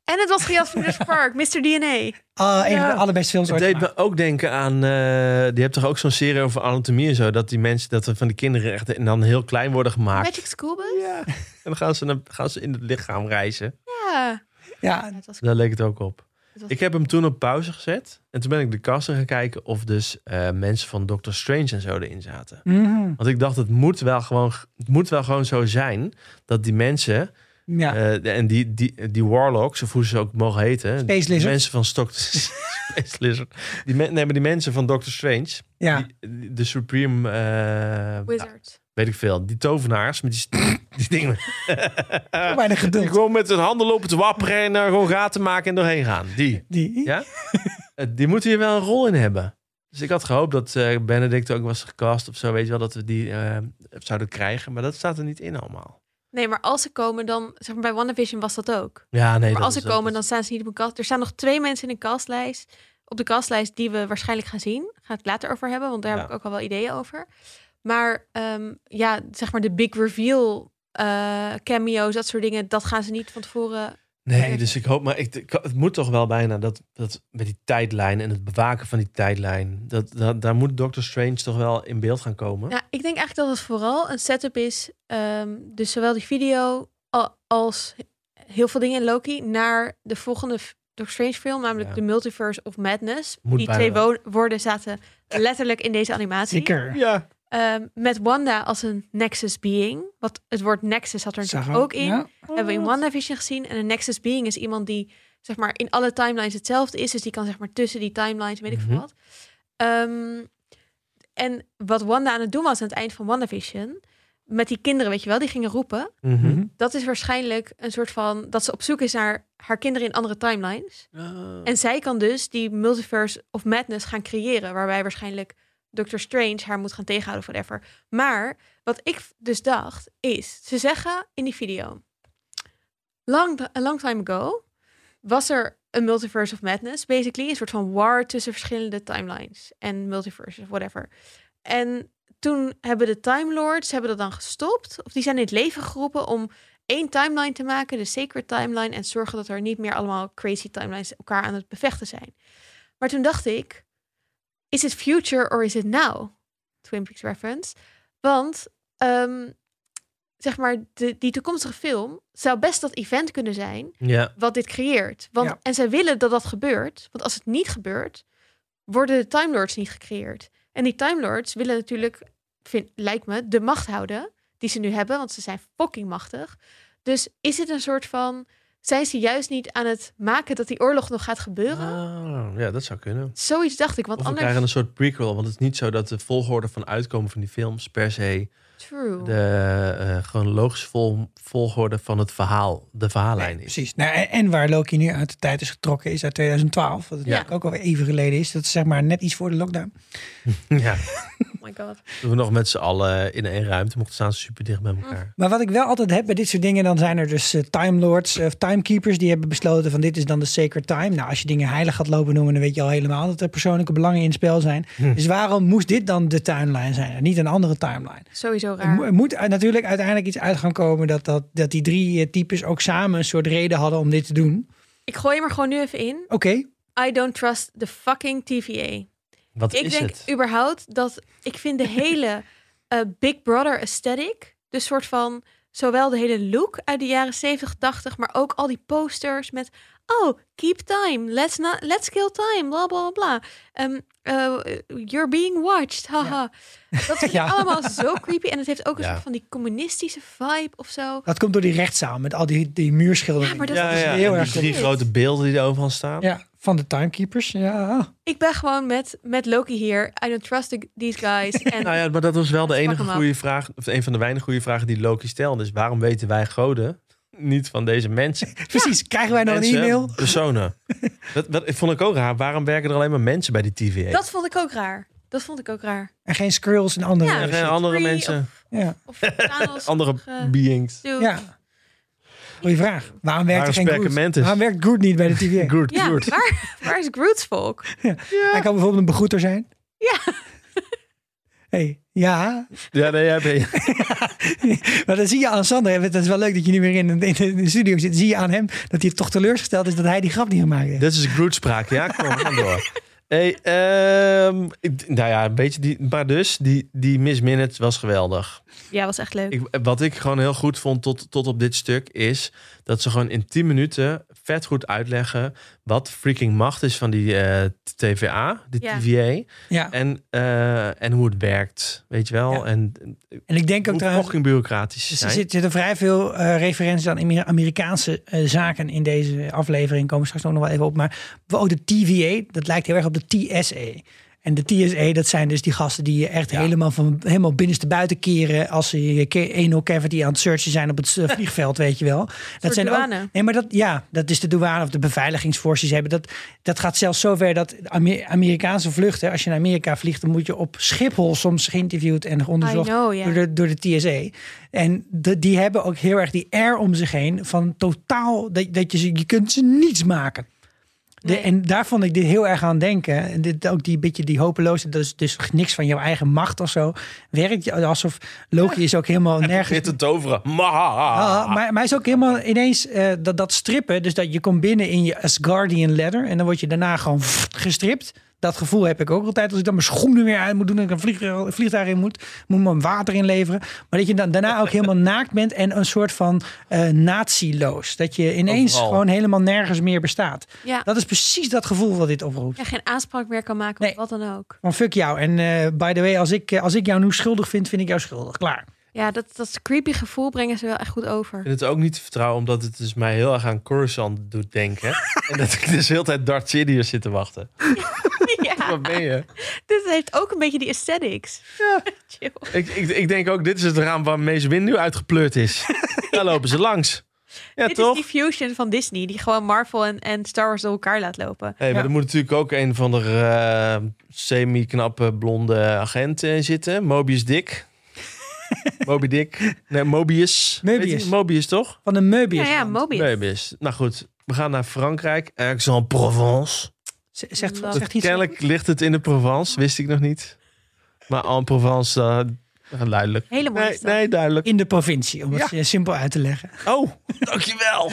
S2: En het was gejat van Jurassic Park, Mr. DNA.
S3: Ah, een
S1: Ja.
S3: van de allerbeste films
S1: Het
S3: ooit
S1: deed
S3: gemaakt.
S1: me ook denken aan. eh die hebt toch ook zo'n serie over anatomie en zo. Dat die mensen, dat er van die kinderen echt en dan heel klein worden gemaakt.
S2: Magic School Bus?
S1: Ja. En dan gaan ze, dan gaan ze in het lichaam reizen.
S2: Ja.
S3: Ja,
S2: Ja, het was,
S1: Daar leek het ook op.
S2: het was-
S1: Ik heb hem toen op pauze gezet. En toen ben ik de kassen gaan kijken of dus eh, mensen van Doctor Strange en zo erin zaten.
S3: Mhm.
S1: Want ik dacht, het moet wel gewoon, het moet wel gewoon zo zijn dat die mensen,
S3: ja.
S1: eh, en die, die, die warlocks, of hoe ze ook mogen heten.
S3: Space
S1: die
S3: lizard.
S1: mensen van Stok... Space Lizard. Die, men, nee, maar die mensen van Doctor Strange.
S3: ja.
S1: die- die- de Supreme... eh,
S2: Wizard.
S1: weet ik veel. Die tovenaars met die, st- die dingen.
S3: Te weinig
S1: Die
S3: geduld.
S1: gewoon met hun handen lopen te wapperen en daar gewoon gaten maken en doorheen gaan. Die.
S3: Die.
S1: Ja? Eh, Die moeten hier wel een rol in hebben. Dus ik had gehoopt dat eh, Benedict ook was gecast of zo. Weet je wel, dat we die eh, zouden krijgen. Maar dat staat er niet in allemaal.
S2: Nee, maar als ze komen, dan... Zeg maar, bij WandaVision was dat ook.
S1: Ja, nee.
S2: maar
S1: dat
S2: als ze
S1: is- dat
S2: komen,
S1: is-
S2: dan staan ze niet op een kast. Er staan nog twee mensen in een kastlijst. Op de kastlijst die we waarschijnlijk gaan zien. Gaan we het later over hebben, want daar
S1: Ja.
S2: heb ik ook al wel ideeën over. Maar ehm, ja, zeg maar de big reveal eh, cameo's, dat soort dingen. Dat gaan ze niet van tevoren.
S1: Nee, dus ik hoop, maar ik, ik- het moet toch wel bijna dat, dat met die tijdlijn en het bewaken van die tijdlijn, dat, dat, daar moet Doctor Strange toch wel in beeld gaan komen.
S2: Nou, ik denk eigenlijk dat het vooral een setup is. ehm, dus zowel die video al- als heel veel dingen in Loki. Naar de volgende f- Doctor Strange film, namelijk
S1: Ja.
S2: de Multiverse of Madness.
S1: Moet
S2: die
S1: bijna
S2: twee
S1: wel.
S2: wo- woorden zaten letterlijk in deze animatie.
S3: Zeker.
S1: Ja.
S2: Ehm, met Wanda als een Nexus Being. Want het woord Nexus had er
S3: Zag
S2: natuurlijk
S3: er-
S2: ook in.
S3: ja.
S2: Hebben we in WandaVision gezien. En een Nexus Being is iemand die zeg maar, in alle timelines hetzelfde is. Dus die kan zeg maar, tussen die timelines, weet ik veel
S1: Mhm.
S2: wat. Ehm, en wat Wanda aan het doen was aan het eind van WandaVision... met die kinderen, weet je wel, die gingen roepen.
S1: Mhm.
S2: Dat is waarschijnlijk een soort van dat ze op zoek is naar haar kinderen in andere timelines.
S1: Ah.
S2: En zij kan dus die multiverse of madness gaan creëren, waarbij waarschijnlijk Doctor Strange haar moet gaan tegenhouden of whatever. Maar wat ik dus dacht is, ze zeggen in die video, long, a long time ago was er een multiverse of madness, basically een soort van war tussen verschillende timelines en multiverses, whatever. En toen hebben de Time Lords hebben dat dan gestopt, of die zijn in het leven geroepen om één timeline te maken, de sacred timeline, en zorgen dat er niet meer allemaal crazy timelines elkaar aan het bevechten zijn. Maar toen dacht ik, is het future or is it now? Twin Peaks reference. Want ehm, zeg maar, de, die toekomstige film zou best dat event kunnen zijn
S1: Ja,
S2: wat dit creëert. Want,
S3: Ja.
S2: En zij willen dat dat gebeurt. Want als het niet gebeurt, worden de Time Lords niet gecreëerd. En die Time Lords willen natuurlijk, vind, lijkt me, de macht houden die ze nu hebben. Want ze zijn fucking machtig. Dus is het een soort van... Zijn ze juist niet aan het maken dat die oorlog nog gaat gebeuren?
S1: Ah, ja, dat zou kunnen.
S2: Zoiets dacht ik, want
S1: Of we
S2: anders...
S1: krijgen een soort prequel. Want het is niet zo dat de volgorde van uitkomen van die films per se
S2: True.
S1: de eh, chronologische vol- volgorde van het verhaal, de verhaallijn
S3: Nee,
S1: is.
S3: Precies. Nou, en, en waar Loki nu uit de tijd is getrokken is uit 2012. Wat
S2: Ja.
S3: natuurlijk ook alweer even geleden is. Dat is zeg maar net iets voor de lockdown.
S1: Ja,
S2: Oh my god.
S1: toen we nog met z'n allen in één ruimte mochten staan, super dicht bij elkaar.
S3: Maar wat ik wel altijd heb bij dit soort dingen, dan zijn er dus eh, time lords of timekeepers die hebben besloten van dit is dan de sacred time. Nou, als je dingen heilig gaat lopen noemen, dan weet je al helemaal dat er persoonlijke belangen in het spel zijn. Dus waarom moest dit dan de timeline zijn en niet een andere timeline?
S2: Sowieso
S3: Er mo-
S2: raar.
S3: er moet u- natuurlijk uiteindelijk iets uit gaan komen dat, dat, dat die drie eh, types ook samen een soort reden hadden om dit te doen.
S2: Ik gooi hem er gewoon nu even in.
S3: Oké,
S2: I don't trust the fucking TVA.
S1: Wat
S2: Hm. ik
S1: is
S2: denk
S1: het?
S2: überhaupt dat ik vind de hele eh, Big Brother aesthetic, dus soort van zowel de hele look uit de jaren 70, 80, maar ook al die posters met oh keep time, let's not, let's kill time, bla bla bla. Ehm, eh, you're being watched, haha. Dat vind ik
S3: Ja.
S2: allemaal zo creepy en het heeft ook een
S1: Ja.
S2: soort van die communistische vibe of zo.
S3: dat komt door die rechtszaal met al die, die muurschilderingen.
S2: Ja, maar dat
S1: ja,
S2: is
S1: ja.
S3: heel
S1: en
S3: erg
S1: die drie
S2: goed.
S1: grote beelden die er overal
S2: Oh.
S1: staan.
S3: Ja, van de timekeepers. Ja.
S2: Ik ben gewoon met, met Loki hier. I don't trust the- these guys. En
S1: Nou ja, maar dat was wel de enige
S2: hem af.
S1: goede vraag, of een van de weinige goede vragen die Loki stelde. Dus waarom weten wij goden niet van deze mensen?
S3: Precies, krijgen wij nog een
S1: Mensen,
S3: e-mail?
S1: Personen. Dat, dat vond ik ook raar. Waarom werken er alleen maar mensen bij die TVA?
S2: dat vond ik ook raar. Dat vond ik ook raar.
S3: En geen Skrulls en andere.
S2: Ja,
S1: er zijn
S3: shit.
S1: andere
S2: Free
S1: mensen,
S3: ja.
S2: Of Thanos.
S1: andere
S2: eh,
S1: beings.
S2: dude.
S3: ja. Goeie vraag. Waarom werkt
S1: Waarom
S3: er geen Groot? Ah,
S1: Spectamentus?
S3: Waarom werkt Groot niet bij de TVA?
S1: Groot,
S2: Ja,
S1: Groot.
S2: waar, waar is Groot's volk?
S3: Hij kan bijvoorbeeld een begroeter zijn.
S2: Ja.
S3: Hey, ja,
S1: Ja, nee, jij bent-
S3: maar dan zie je aan Sander, hè, want het is wel leuk dat je nu weer in, de- in de- in de studio zit, zie je aan hem dat hij toch teleurgesteld is dat hij die grap niet gemaakt heeft.
S1: Dit is Groot-spraak, ja? Kom, we gaan door. Hey, ehm, ik- nou ja, een beetje die, maar dus, die, die Miss Minutes was geweldig.
S2: Ja, was echt leuk.
S1: Ik, wat ik gewoon heel goed vond tot, tot op dit stuk is dat ze gewoon in 10 minuten vet goed uitleggen wat freaking macht is van die eh, TVA, de
S2: Ja.
S1: TVA,
S3: Ja,
S1: en, eh, en hoe het werkt, weet je wel.
S3: Ja.
S1: En
S3: en ik denk ook
S1: hoe
S3: trouwens,
S1: fucking bureaucratisch ze
S3: Dus er
S1: zijn.
S3: zit- zitten vrij veel eh, referenties aan Amer- Amerikaanse eh, zaken in deze aflevering. Komen we straks ook nog wel even op. Maar ook de TVA, dat lijkt heel erg op de TSA. En de TSA, dat zijn dus die gasten die je echt
S1: Ja.
S3: helemaal van helemaal binnenste buiten keren. als ze je ke- anal cavity aan het searchen zijn op het eh, vliegveld, weet je wel. Dat
S2: Soort
S3: zijn ook,
S2: douane.
S3: nee, maar dat, ja, dat is de douane of de beveiligingsforces hebben. Dat, dat gaat zelfs zover dat Amer- Amerikaanse vluchten, als je naar Amerika vliegt, dan moet je op Schiphol soms geïnterviewd en
S2: I
S3: onderzocht
S2: know, ja.
S3: door, de, door de TSA. En de- die hebben ook heel erg die air om zich heen van totaal dat, dat je ze, je kunt ze niets maken. De,
S2: Nee.
S3: En daar vond ik dit heel erg aan denken. En dit, ook die beetje die hopeloosheid, dus, dus niks van jouw eigen macht of zo. Werkt je alsof Loki is ook helemaal nergens.
S1: Zit te toveren. Maha.
S3: Ah, maar, maar hij is ook helemaal ineens eh, dat, dat strippen. Dus dat je komt binnen in je Asgardian ladder. En dan word je daarna gewoon pfft gestript. Dat gevoel heb ik ook altijd. Als ik dan mijn schoenen weer uit moet doen. En ik een vliegtuig, vliegtuig in moet. Moet mijn water inleveren. Maar dat je dan daarna ook helemaal naakt bent. En een soort van eh natieloos. Dat je ineens
S1: Overal.
S3: gewoon helemaal nergens meer bestaat.
S2: Ja.
S3: Dat is precies dat gevoel wat dit oproept.
S2: ja, geen aanspraak meer kan maken
S3: Nee.
S2: op wat dan ook.
S3: Van fuck jou. En eh, by the way, als ik, als ik jou nu schuldig vind, vind ik jou schuldig. Klaar.
S2: Ja, dat, dat creepy gevoel brengen ze wel echt goed over.
S1: Ik vind het ook niet te vertrouwen, omdat het dus mij heel erg aan Coruscant doet denken. en dat ik dus de hele tijd Darth Sidious zit te wachten. Wat ben je?
S2: Dit heeft ook een beetje die aesthetics.
S1: Ja.
S2: Chill.
S1: Ik, ik, ik denk ook, dit is het raam waar Mees Win nu uitgepleurd is. Daar lopen ze langs. Ja,
S2: Dit
S1: toch?
S2: is die fusion van Disney, die gewoon Marvel en, en Star Wars door elkaar laat lopen.
S1: Hey, maar
S3: Ja.
S1: er moet natuurlijk ook een van de eh, semi-knappe blonde agent in zitten. Mobius Dick. Moby Dick. Nee, Mobius. Weet
S3: Mobius.
S1: je? Mobius, toch?
S3: Van een Möbius.
S2: Ja, ja, Mobius.
S1: Mobius. Nou goed, we gaan naar Frankrijk. Aix-en-Provence.
S3: Z- Zegt,
S2: Dat
S3: zegt iets.
S1: Kennelijk ligt het in de Provence, wist ik nog niet. Maar en Provence, eh, duidelijk.
S2: Hele mooie
S1: Nee,
S2: stad.
S1: nee, duidelijk.
S3: in de provincie, om het
S1: Ja.
S3: eh, simpel uit te leggen.
S1: Oh, dankjewel.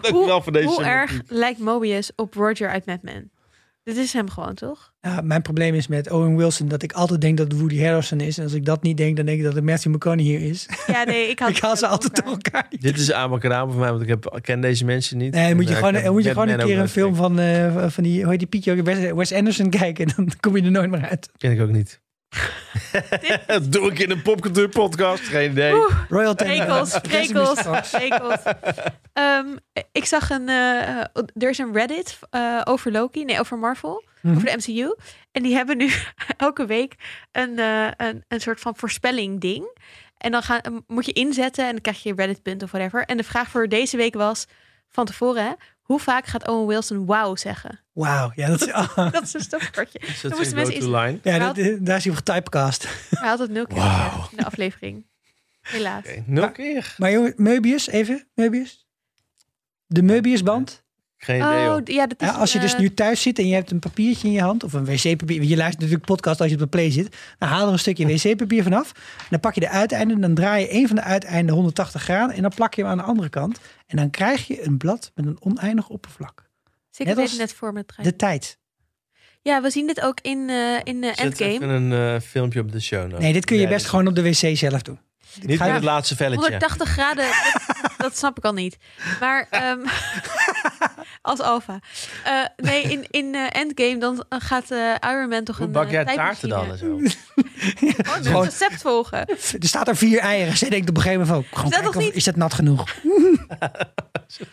S1: Dankjewel voor deze
S2: Hoe
S1: sympathie.
S2: erg lijkt Mobius op Roger uit Mad Men? Dit is hem gewoon, toch?
S3: Nou, mijn probleem is met Owen Wilson dat ik altijd denk dat het Woody Harrelson is. En als ik dat niet denk, dan denk ik dat het Matthew McConaughey hier is.
S2: Ja, nee, ik had
S3: ik haal ze altijd door
S2: toch.
S3: elkaar.
S1: Dit is abacadabra voor mij, want ik heb, ken deze mensen niet.
S3: Nee, moet je
S1: En, eh,
S3: gewoon,
S1: ik heb
S3: eh, moet je gewoon een
S1: Batman
S3: keer
S1: ook
S3: een film
S1: nooit
S3: van, eh, van die, hoe heet die Pietje ook, Wes, Wes Anderson kijken. Dan kom je er nooit meer uit.
S1: gekeken. Ken ik ook niet. Dat doe ik in een popcultuur podcast. Geen idee.
S2: Oeh,
S3: Royal Tenenbaums.
S2: Prekels, prekels, prekels. Ehm, ik zag een... eh, er is een Reddit eh, over Loki. Nee, over Marvel.
S3: Mhm.
S2: Over de MCU. En die hebben nu elke week een, eh, een, een soort van voorspelling ding. En dan gaan, moet je inzetten en dan krijg je Reddit punt of whatever. En de vraag voor deze week was van tevoren... Hè, hoe vaak gaat Owen Wilson wow zeggen?
S3: Wauw, ja, dat is, ah,
S2: Dat is een stokwoordje.
S1: Is
S2: Dan
S1: dat
S2: moesten
S1: zijn
S2: mensen
S1: go-to line?
S3: ja dat- daar is hij op typecast.
S2: Hij had het nul keer
S1: Wauw.
S2: gezegd in de aflevering. Helaas.
S1: Oké,
S3: Ah.
S1: nul keer.
S3: Maar jongen, Möbius, even, Möbius. De Möbius-band.
S1: Geen idee,
S2: Oh,
S1: hoor.
S2: d- ja, dat is,
S3: Ja, als je dus
S2: eh,
S3: nu thuis zit en je hebt een papiertje in je hand, of een wc-papier, want je luistert natuurlijk podcast als je op de play zit, dan haal er een stukje wc-papier vanaf, dan pak je de uiteinden, dan draai je één van de uiteinden 180 graden en dan plak je hem aan de andere kant. En dan krijg je een blad met een oneindig oppervlak.
S2: Zeker
S3: net
S2: net,
S3: als
S2: net voor met de trein.
S3: De tijd.
S2: Ja, we zien dit ook in, eh, in de
S1: Zet even
S2: Endgame.
S1: een eh, filmpje op de show notes.
S3: Nee, dit kun je
S1: Nee,
S3: best
S1: dit-
S3: gewoon op de wc zelf doen.
S1: Niet
S3: Ga
S1: met
S3: je-
S1: het laatste velletje.
S2: 180 graden, dat, dat snap ik al niet. Maar ehm, als alfa. Eh, nee, in, in eh, Endgame dan gaat eh, Iron Man toch
S1: Hoe
S2: een
S1: bak jij
S2: eh,
S1: taarten dan? En
S2: tijdmachine.
S1: zo?
S2: Gewoon
S3: Gewoon-
S2: een recept volgen.
S3: Er staat er vier eieren. Ze denkt op een gegeven moment van, oh, gewoon
S2: Is dat
S3: kijken
S2: nog
S3: of-
S2: niet-
S3: is dat nat genoeg?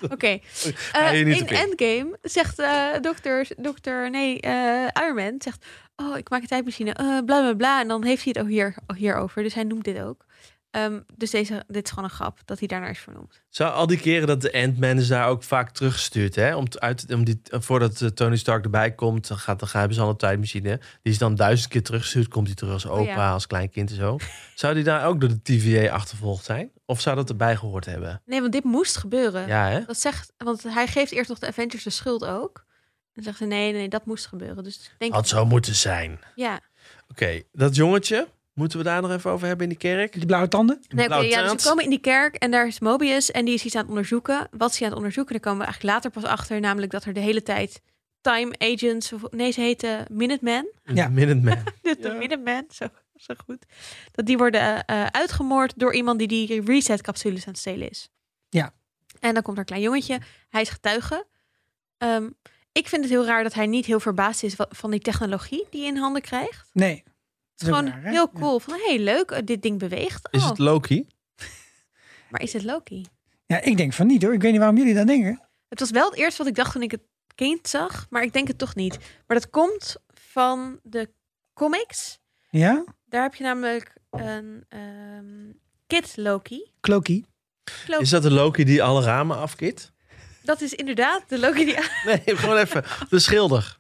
S2: Oké.
S1: Ga je
S2: Eh,
S1: niet
S2: in
S1: op in.
S2: Endgame zegt eh dokter, dokter, nee, eh Iron Man zegt, oh, ik maak een tijdmachine, eh, bla bla bla. En dan heeft hij het ook hier, hierover, dus hij noemt dit ook. Ehm, dus deze, dit is gewoon een grap, dat hij daarnaar is vernoemd.
S1: Zo, al die keren dat de Ant-Man is daar ook vaak teruggestuurd. Hè? Om t- uit, om die, voordat eh, Tony Stark erbij komt, dan, gaat, dan gaan- hebben ze al een tijdmachine. Die is dan duizend keer teruggestuurd. Komt hij terug als opa,
S2: Oh, ja.
S1: als klein kind en zo. Zou die daar ook door de TVA achtervolgd zijn? Of zou dat erbij gehoord hebben?
S2: Nee, want dit moest gebeuren.
S1: Ja, hè?
S2: Dat zegt, want hij geeft eerst nog de Avengers de schuld ook. En zegt ze, nee, nee, dat moest gebeuren. Dus ik denk,
S1: Had zo moeten zijn. Oké,
S2: ja.
S1: dat jongetje, moeten we daar nog even over hebben in die kerk?
S3: Die blauwe tanden?
S2: Nee, oké,
S1: Blauw
S2: ja, dus
S1: taart.
S2: we komen in die kerk en daar is Mobius en die is iets aan het onderzoeken. Wat is hij aan het onderzoeken? Daar komen we eigenlijk later pas achter, namelijk dat er de hele tijd time agents, of, nee, ze heten Minutemen.
S3: Ja.
S1: De Minuteman.
S2: De, de
S1: Ja.
S2: Minutemen, zo, zo goed. Dat die worden eh, eh, uitgemoord door iemand die die reset-capsules aan het stelen is.
S3: Ja.
S2: En dan komt er een klein jongetje, hij is getuige. Ehm, ik vind het heel raar dat hij niet heel verbaasd is wa- van die technologie die hij in handen krijgt.
S3: Nee.
S2: Het is gewoon heel cool. Van, hey, leuk, eh, dit ding beweegt.
S1: Is
S2: Oh,
S1: het Loki?
S2: Maar is het Loki?
S3: Ja, ik denk van niet hoor. Ik weet niet waarom jullie dat denken.
S2: Het was wel het eerst wat ik dacht toen ik het kind zag, maar ik denk het toch niet. Maar dat komt van de comics.
S3: Ja?
S2: Daar heb je namelijk een ehm, Kid Loki.
S3: Cloaky.
S2: Loki.
S1: Is dat de Loki die alle ramen afkit?
S2: Dat is inderdaad de Loki die.
S1: Nee, gewoon even. De schilder.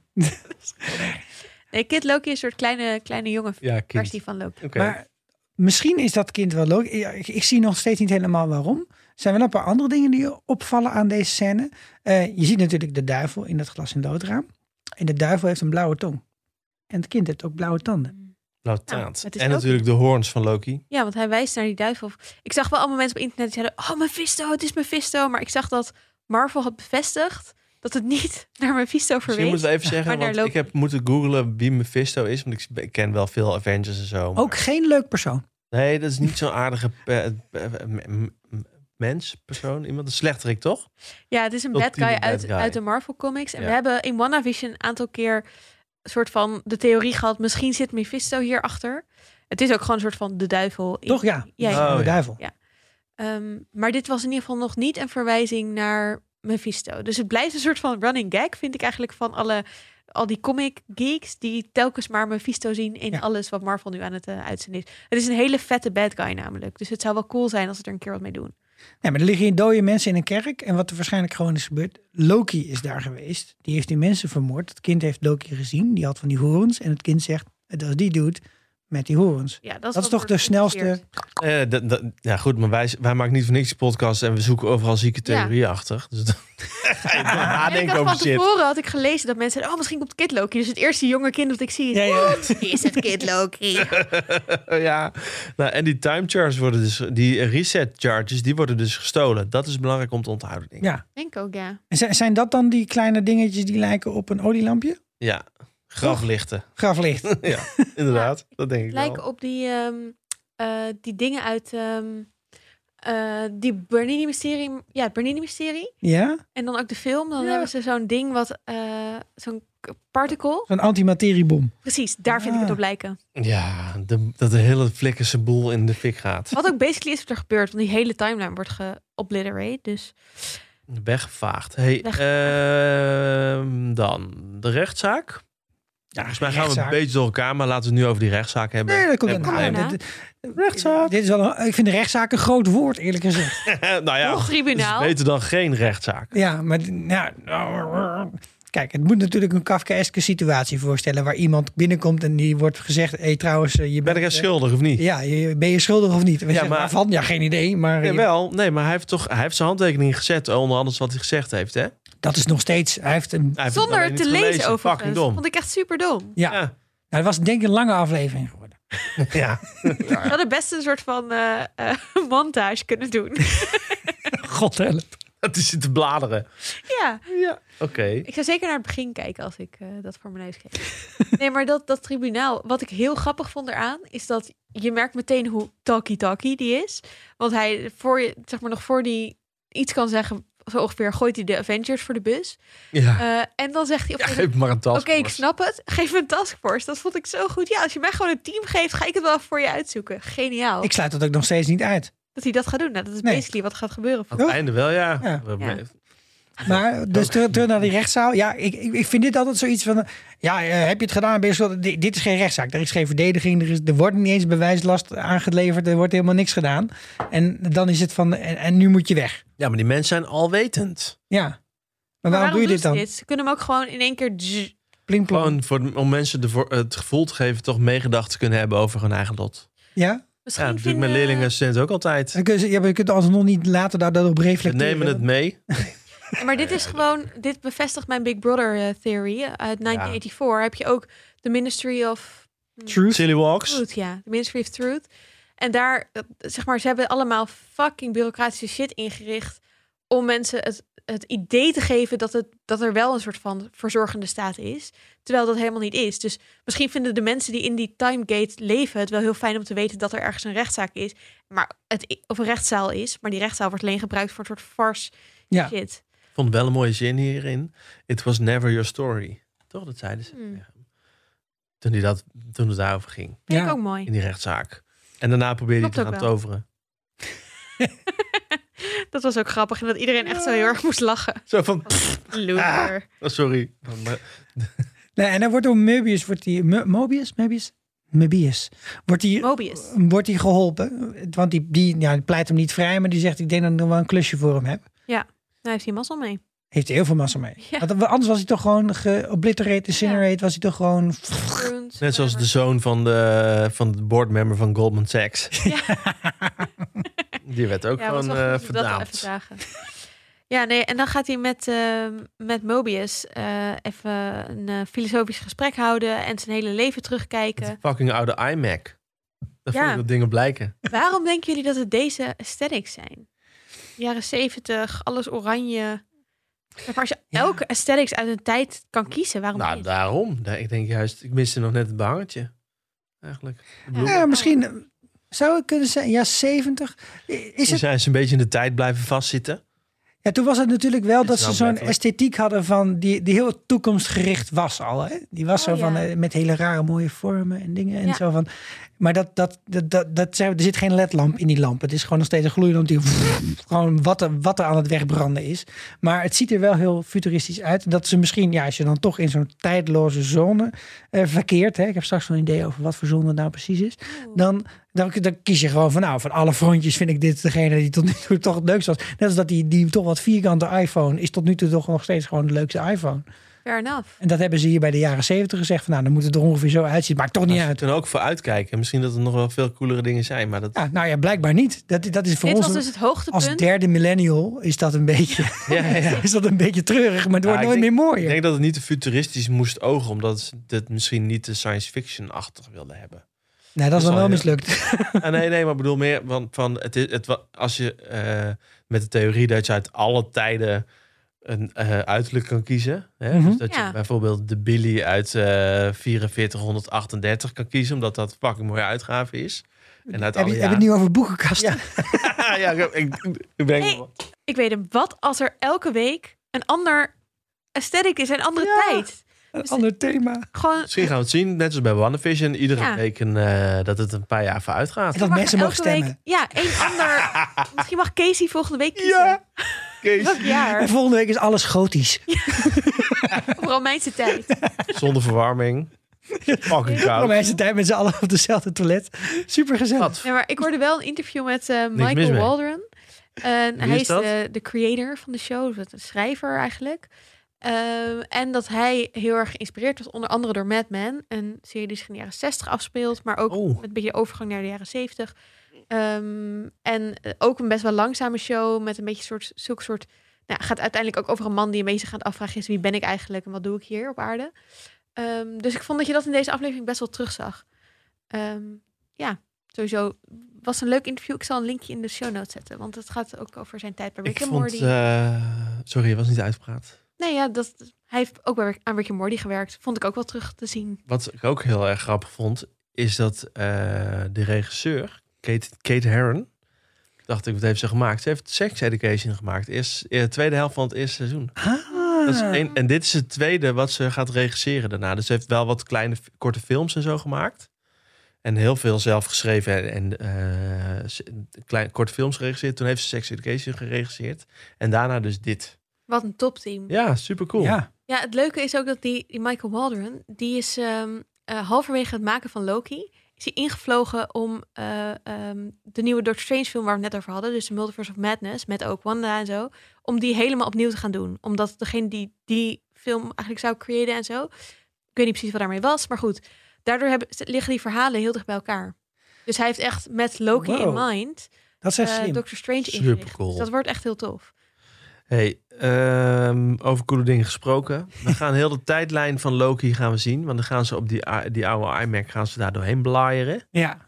S2: Nee, Kid Loki is een soort kleine, kleine jongen
S1: Ja, kind.
S2: versie van Loki.
S1: Oké.
S3: Maar misschien is dat kind wel leuk. Ja, Ik, ik zie nog steeds niet helemaal waarom. Er zijn wel een paar andere dingen die opvallen aan deze scène. Eh, je ziet natuurlijk de duivel in dat glas en doodraam. En de duivel heeft een blauwe tong. En het kind heeft ook blauwe tanden.
S1: Blauw
S2: Nou,
S1: taart.
S2: het is
S1: en
S2: Loki.
S1: natuurlijk de hoorns van Loki.
S2: Ja, want hij wijst naar die duivel. Ik zag wel allemaal mensen op internet die zeiden: Oh, Mephisto, het is Mephisto. Maar ik zag dat Marvel had bevestigd dat het niet naar Mephisto
S1: Misschien
S2: verwees.
S1: moeten we even zeggen,
S2: Maar daar
S1: want
S2: loop
S1: ik heb moeten googlen wie Mephisto is. Want ik sp- ik ken wel veel Avengers en zo.
S2: Oh.
S1: maar-
S3: Ook geen leuk persoon.
S1: Nee, dat is niet zo'n aardige pe- eh, pe- m- m- mens, persoon. Iemand een slechterik, toch?
S2: Ja, het is een bad
S1: Ultieme
S2: guy,
S1: bad
S2: uit,
S1: guy.
S2: uit de Marvel comics. En
S1: Ja.
S2: we hebben in WandaVision een aantal keer een soort van de theorie gehad. Misschien zit Mephisto hierachter. Het is ook gewoon een soort van de duivel. in-
S3: Toch ja? Dus
S2: ja, ja.
S1: Oh,
S3: De
S1: ja.
S3: duivel.
S2: Ehm, maar dit was in ieder geval nog niet een verwijzing naar Mephisto. Dus het blijft een soort van running gag, vind ik eigenlijk, van alle al die comic geeks die telkens maar Mephisto zien in
S3: Ja.
S2: alles wat Marvel nu aan het eh, uitzenden is. Het is een hele vette bad guy namelijk. Dus het zou wel cool zijn als ze er een keer wat mee doen.
S3: Nee, maar er liggen hier dode mensen in een kerk. En wat er waarschijnlijk gewoon is gebeurd. Loki is daar geweest. Die heeft die mensen vermoord. Het kind heeft Loki gezien. Die had van die horens. En het kind zegt, dat is die dude met die horens.
S2: Ja, dat is,
S3: Dat
S2: wat
S3: is toch
S2: wordt
S3: de snelste...
S2: geïntroduceerd.
S1: Eh, dat- dat- ja, goed, maar wij, wij maken niet voor niks die podcast en we zoeken overal zieke theorieën achter. Dus dan ga je
S2: En ik
S1: nadenken
S2: had van
S1: over shit.
S2: tevoren had ik gelezen dat mensen zeiden, oh misschien komt Kid Loki. Dus het eerste jonge kind dat ik zie is,
S3: Ja, ja.
S2: "Wat is het Kid Loki?
S1: ja. Nou, en die time charges worden dus, die reset charges, die worden dus gestolen. Dat is belangrijk om te onthouden, denk ik.
S3: Ja.
S2: Denk ook, ja.
S3: En zi- zijn dat dan die kleine dingetjes die lijken op een olielampje?
S1: Ja, graflichten.
S3: Graflicht.
S1: ja, inderdaad. dat denk ik
S2: Lijken
S1: wel.
S2: op die, ehm, eh, die dingen uit ehm, eh, die Bernini-mysterie. Ja, het Bernini-mysterie.
S3: Ja?
S2: En dan ook de film. Dan
S3: Ja.
S2: hebben ze zo'n ding wat, eh, zo'n k- particle.
S3: Zo'n antimateriebom.
S2: Precies, daar vind ik het
S3: Ah.
S2: op lijken.
S1: Ja, de- dat de hele flikkerse boel in de fik gaat.
S2: Wat ook basically is wat er gebeurt. Want die hele timeline wordt geobliterated. Dus
S1: Weggevaagd. Hey, ehm, dan de rechtszaak.
S3: Ja,
S1: Volgens mij gaan we een
S3: rechtszaak.
S1: beetje door elkaar, maar laten we het nu over die rechtszaak hebben.
S3: Nee, dat komt
S1: Hebben
S3: wel.
S1: we
S2: Kom
S1: het
S2: daarna.
S3: Rechtszaak. Dit is wel een, ik vind de rechtszaak een groot woord, eerlijk gezegd.
S1: even. nou ja,
S2: nog
S1: het is
S2: tribunaal.
S1: beter dan geen rechtszaak.
S3: ja, maar d- nou, kijk, het moet natuurlijk een Kafkaeske situatie voorstellen waar iemand binnenkomt en die wordt gezegd: hé, hey, trouwens, eh, je
S1: Ben
S3: bent.
S1: ik er
S3: eh,
S1: schuldig of niet?
S3: Ja, je, ben je schuldig of niet? Ja,
S1: Ja,
S3: maar,
S1: maar-
S3: waarvan? Ja, geen idee. Maar eh, je-
S1: Jawel, nee, maar hij heeft toch hij heeft zijn handtekening gezet onder alles wat hij gezegd heeft, hè? Hij
S3: dat is nog steeds. Hij heeft een.
S1: heeft het
S2: zonder
S1: alleen
S2: het
S1: niet
S2: te lezen
S1: gelezen.
S2: overigens.
S1: Fucking dom.
S2: Vond ik echt super dom.
S3: Ja, nou,
S1: Ja,
S3: dat was denk ik een lange aflevering geworden.
S1: ja.
S2: We hadden best een soort van eh, eh, montage kunnen doen.
S3: God help.
S1: dat is het te bladeren.
S2: ja.
S1: Oké.
S2: Ik zou zeker naar het begin kijken als ik eh, dat voor mijn neus kreeg. nee, maar dat, dat tribunaal, wat ik heel grappig vond eraan, is dat je merkt meteen hoe talkie-talkie die is. Want hij, voor, je- zeg maar nog voor die iets kan zeggen, zo ongeveer gooit hij de Avengers voor de bus.
S1: Ja.
S2: Eh, en dan zegt hij op een
S1: ja,
S2: gegeven
S1: geef me maar een tas.
S2: Oké, ik snap het. Geef me een taskforce. Dat vond ik zo goed. Ja, als je mij gewoon een team geeft, ga ik het wel voor je uitzoeken. Geniaal.
S3: Ik sluit dat ook nog steeds niet uit.
S2: Dat hij dat gaat doen. Nou, dat is
S3: Nee.
S2: basically wat gaat gebeuren.
S1: Aan het einde wel, ja.
S3: Ja.
S1: We-
S2: Ja.
S3: Maar dus terug, terug naar die rechtszaal. Ja, ik, ik, ik vind dit altijd zoiets van. Ja, eh, heb je het gedaan? Ben je schuldig? Di- dit is geen rechtszaak. Er is geen verdediging. Er, is, er wordt niet eens bewijslast aangeleverd. Er wordt helemaal niks gedaan. En dan is het van. En, en nu moet je weg.
S1: Ja, maar die mensen zijn alwetend.
S3: Ja. Maar, waarom, doe je
S2: doen
S3: dit
S2: ze
S3: dan?
S2: Ze kunnen hem ook gewoon in één keer... zzz.
S3: Pling plong.
S1: Gewoon voor, om mensen de, voor- het gevoel te geven toch meegedacht te kunnen hebben over hun eigen lot.
S3: Ja.
S1: Ja,
S2: Misschien
S1: dat doe ik met
S2: vinden-
S1: leerlingen en studenten ook altijd.
S3: Dan kun je, ja, maar je kunt alsnog niet later daar, daarop
S1: We
S3: reflecteren.
S1: nemen het mee.
S2: Ja, Maar dit is gewoon, dit bevestigt mijn Big Brother eh, theory uit 1984. Heb je ook de Ministry of
S3: Truth.
S1: Silly walks.
S2: Truth, ja, de Ministry of Truth. En daar, eh, zeg maar, ze hebben allemaal fucking bureaucratische shit ingericht om mensen het, het idee te geven dat, het, dat er wel een soort van verzorgende staat is, terwijl dat helemaal niet is. Dus misschien vinden de mensen die in die timegate leven het wel heel fijn om te weten dat er ergens een rechtszaak is, maar het, i- of een rechtszaal is, maar die rechtszaal wordt alleen gebruikt voor een soort farce
S3: Ja.
S2: shit.
S1: Ik vond wel een mooie zin hierin. It was never your story. Toch, dat zeiden ze.
S2: Hmm.
S1: tegen hem. Toen, die dat, toen het daarover ging,
S2: Vind ik
S3: Ja.
S2: ook mooi.
S1: in die rechtszaak. En daarna probeerde hij
S2: Klopt
S1: te gaan
S2: ook wel.
S1: toveren.
S2: Dat was ook grappig. En dat iedereen echt zo heel erg moest lachen.
S1: Zo van,
S2: Loser.
S1: oh, sorry. Maar-
S3: Nee, en dan wordt door Möbius, wordt die, Mo- Mobius, Möbius, Möbius, wordt die,
S2: Mobius.
S3: wordt die geholpen. Want die, die, ja, die pleit hem niet vrij, maar die zegt, ik denk dat ik nog wel een klusje voor hem heb.
S2: Nou heeft hij mazzel mee.
S3: Heeft hij heel veel massa mee.
S2: Ja.
S3: Want anders was hij toch gewoon geobliterate, incinerate, was hij toch gewoon...
S2: Groens,
S1: Net zoals de
S2: whatever.
S1: zoon van de, van de boardmember van Goldman Sachs. Die werd ook
S2: Ja, was
S1: gewoon
S2: wel
S1: eh
S2: goed dat we dat wel even
S1: verdaamd.
S2: zagen. Ja, nee, en dan gaat hij met, ehm, met Mobius eh, even een eh, filosofisch gesprek houden en zijn hele leven
S1: Met
S2: terugkijken.
S1: een fucking oude iMac. Dat
S2: Ja.
S1: vond ik dat dingen blijken.
S2: Waarom denken jullie dat het deze aesthetics zijn? Jaren zeventig, alles oranje. Zeg maar, Als je
S3: Ja.
S2: elke aesthetics uit een tijd kan kiezen, waarom
S1: nou,
S2: dit?
S1: daarom. Daar- Ik denk juist, ik miste nog net het behangetje. Eigenlijk. De bloemen.
S3: Ja, misschien eh, zou het kunnen zijn, ja, 70. Is
S1: Toen
S3: het,
S1: zijn ze een beetje in de tijd blijven vastzitten.
S3: ja, Ja, toen was het natuurlijk wel
S1: Dit
S3: dat
S1: is
S3: ze
S1: nou
S3: zo'n
S1: letterlijk.
S3: esthetiek hadden van die, die heel toekomstgericht was al. Hè? Die was
S2: Oh,
S3: zo van
S2: ja.
S3: eh, met hele rare mooie vormen en dingen en
S2: Ja.
S3: zo van. Maar dat, dat, dat, dat, dat zijn- er zit geen ledlamp in die lamp. Het is gewoon nog steeds een gloeilamp die gewoon wat er, wat er aan het wegbranden is. Maar het ziet er wel heel futuristisch uit. Dat ze misschien, ja, als je dan toch in zo'n tijdloze zone eh, verkeert. Hè? Ik heb straks wel een idee over wat voor zone het nou precies is dan, dan, dan kies je gewoon van nou, van alle frontjes vind ik dit degene die tot nu toe toch het leukste was. Net als dat die, die toch wat vierkante iPhone is tot nu toe toch nog steeds gewoon de leukste iPhone.
S2: Fair enough.
S3: En dat hebben ze hier bij de jaren zeventig gezegd van nou, dan moet het er ongeveer zo uitzien. Maakt toch niet
S1: Als je
S3: uit.
S1: toen ook voor uitkijken. Misschien dat er nog wel veel coolere dingen zijn. Maar dat,
S3: Ja, nou ja, blijkbaar niet. Dat, dat is voor
S2: Dit
S3: ons
S2: was dus het hoogtepunt.
S3: als derde millennial is dat een beetje,
S1: ja, ja, ja.
S3: is dat een beetje treurig, maar het wordt
S1: Ja, ik
S3: nooit
S1: denk-
S3: meer
S1: Ik
S3: mooier.
S1: denk dat het niet te futuristisch moest ogen. Omdat ze dit misschien niet te science fiction-achtig wilden hebben.
S3: nou, dat is
S1: dat
S3: dan
S1: is
S3: wel
S1: al-
S3: mislukt.
S1: Ah, nee, nee, maar ik bedoel meer van, van het is, het, wa- als je eh, met de theorie dat je uit alle tijden een eh, uiterlijk kan kiezen. Hè?
S3: Mhm.
S1: Dus dat
S2: Ja.
S1: je bijvoorbeeld de Billy uit eh 4438 kan kiezen, omdat dat fucking mooie uitgave is. En uit
S3: Heb
S1: alle
S3: je, heb je het
S1: jaren-
S3: nu over boekenkasten?
S1: oh ja, ik, ik, ik ben
S2: Hey, Ik weet hem. Wat als er elke week een ander aesthetic is, een andere
S3: Ja.
S2: tijd?
S3: Een ander thema.
S2: Gewoon
S1: Misschien gaan we het zien, net als bij WandaVision. Iedere
S2: Ja.
S1: week een, eh, dat het een paar jaar vooruit gaat.
S3: Dat
S2: mag
S3: mensen mogen
S2: elke week-
S3: stemmen.
S2: ja, één ander. Misschien mag Casey volgende week kiezen.
S1: Ja, Kees,
S2: Welk jaar?
S3: En volgende week is alles gotisch.
S2: Of Romeinse tijd.
S1: zonder verwarming. Fucking koud.
S3: Romeinse tijd met z'n allen op dezelfde toilet. Super gezellig.
S1: Wat?
S2: Nee, maar ik hoorde wel een interview met eh,
S1: mis
S2: Michael
S1: mee.
S2: Waldron. En
S1: Wie
S2: hij
S1: is
S2: is,
S1: dat?
S2: de, de creator van de show, de schrijver eigenlijk. Ehm, en dat hij heel erg geïnspireerd was, onder andere door Mad Men. Een serie die zich in de jaren 60 afspeelt, maar ook
S1: Oh.
S2: met een beetje de overgang naar de jaren 70. Ehm, en eh, ook een best wel langzame show met een beetje soort, zulke soort... Nou, gaat uiteindelijk ook over een man die een beetje zich aan het afvragen is... wie ben ik eigenlijk en wat doe ik hier op aarde? Ehm, dus ik vond dat je dat in deze aflevering best wel terugzag. Ehm, ja, sowieso was een leuk interview. Ik zal een linkje in de show notes zetten, want het gaat ook over zijn tijd bij Rick
S1: Ik
S2: and Morty.
S1: vond... eh, sorry, je was niet uitgepraat.
S2: Nee, ja, dat, hij heeft ook bij, Rick- aan Rick and Morty gewerkt. Vond ik ook wel terug te zien.
S1: Wat ik ook heel erg grappig vond, is dat eh, de regisseur, Kate, Kate Herron, dacht ik, wat heeft ze gemaakt? Ze heeft Sex Education gemaakt, eerst, eh, tweede helft van het eerste seizoen.
S3: Ah.
S1: Dat is één- en dit is het tweede wat ze gaat regisseren daarna. Dus ze heeft wel wat kleine, f- korte films en zo gemaakt. En heel veel zelf geschreven en, en eh, ze- klein, korte films geregisseerd. Toen heeft ze Sex Education geregisseerd. En daarna dus dit.
S2: Wat een topteam. Ja.
S1: Ja, super cool.
S3: Ja.
S2: het leuke is ook dat die, die Michael Waldron, die is ehm, eh, halverwege het maken van Loki, is hij ingevlogen om eh, ehm, de nieuwe Doctor Strange film waar we het net over hadden, dus de Multiverse of Madness, met ook Wanda en zo, om die helemaal opnieuw te gaan doen. Omdat degene die die film eigenlijk zou creëren en zo, ik weet niet precies wat daarmee was, maar goed. Daardoor hebben, liggen die verhalen heel dicht bij elkaar. Dus hij heeft echt met Loki
S3: Wow.
S2: in mind
S3: Dat is echt
S2: eh,
S3: slim.
S2: Doctor Strange
S1: Supercool.
S2: ingericht. Dus dat wordt echt heel tof.
S1: Hey, ehm, over coole dingen gesproken. We gaan heel de tijdlijn van Loki gaan we zien. Want dan gaan ze op die, a- die oude iMac gaan ze daar doorheen blaieren.
S3: ja.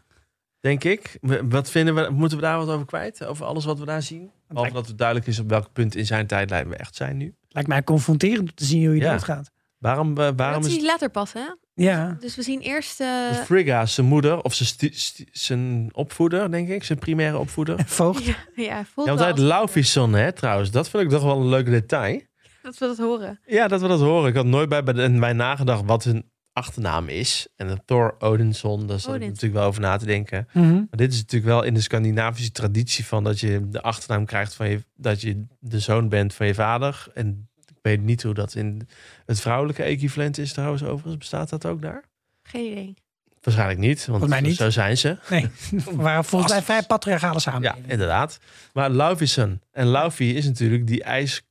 S1: Denk ik. W- Wat vinden we? Moeten we daar wat over kwijt? Over alles wat we daar zien? Behalve
S3: Lijkt,
S1: dat het duidelijk is op welk punt in zijn tijdlijn we echt zijn nu.
S3: lijkt mij confronterend om te zien hoe je
S1: Ja.
S3: dat gaat.
S1: Waarom, eh, waarom
S2: dat
S1: is
S2: is later pas, hè?
S3: Ja.
S2: Dus we zien eerst... eh,
S1: Frigga zijn moeder of zijn, sti- sti- zijn opvoeder, denk ik? Zijn primaire opvoeder?
S3: Voogd.
S2: ja, ja, voelt
S1: Ja, want
S2: wel
S1: hij heet
S2: als-
S1: Laufison, hè, trouwens. Dat vind ik toch wel een leuk detail.
S2: Dat we dat horen.
S1: Ja, dat we dat horen. Ik had nooit bij, bij, bij nagedacht wat hun achternaam is. En dat Thor Odinson, daar zat ik
S2: Odinson.
S1: natuurlijk wel over na te denken.
S3: Mhm.
S1: Maar dit is natuurlijk wel in de Scandinavische traditie van dat je de achternaam krijgt van je, dat je de zoon bent van je vader. En ik weet niet hoe dat in het vrouwelijke equivalent is trouwens overigens. Bestaat dat ook daar?
S2: Geen idee.
S1: Waarschijnlijk niet, want
S3: Volgens mij niet.
S1: zo zijn ze.
S3: Nee, we waren volgens mij vrij patriarchale
S1: Ja,
S3: samenleving.
S1: inderdaad. Maar Laufison. En Laufie is natuurlijk die ijspegel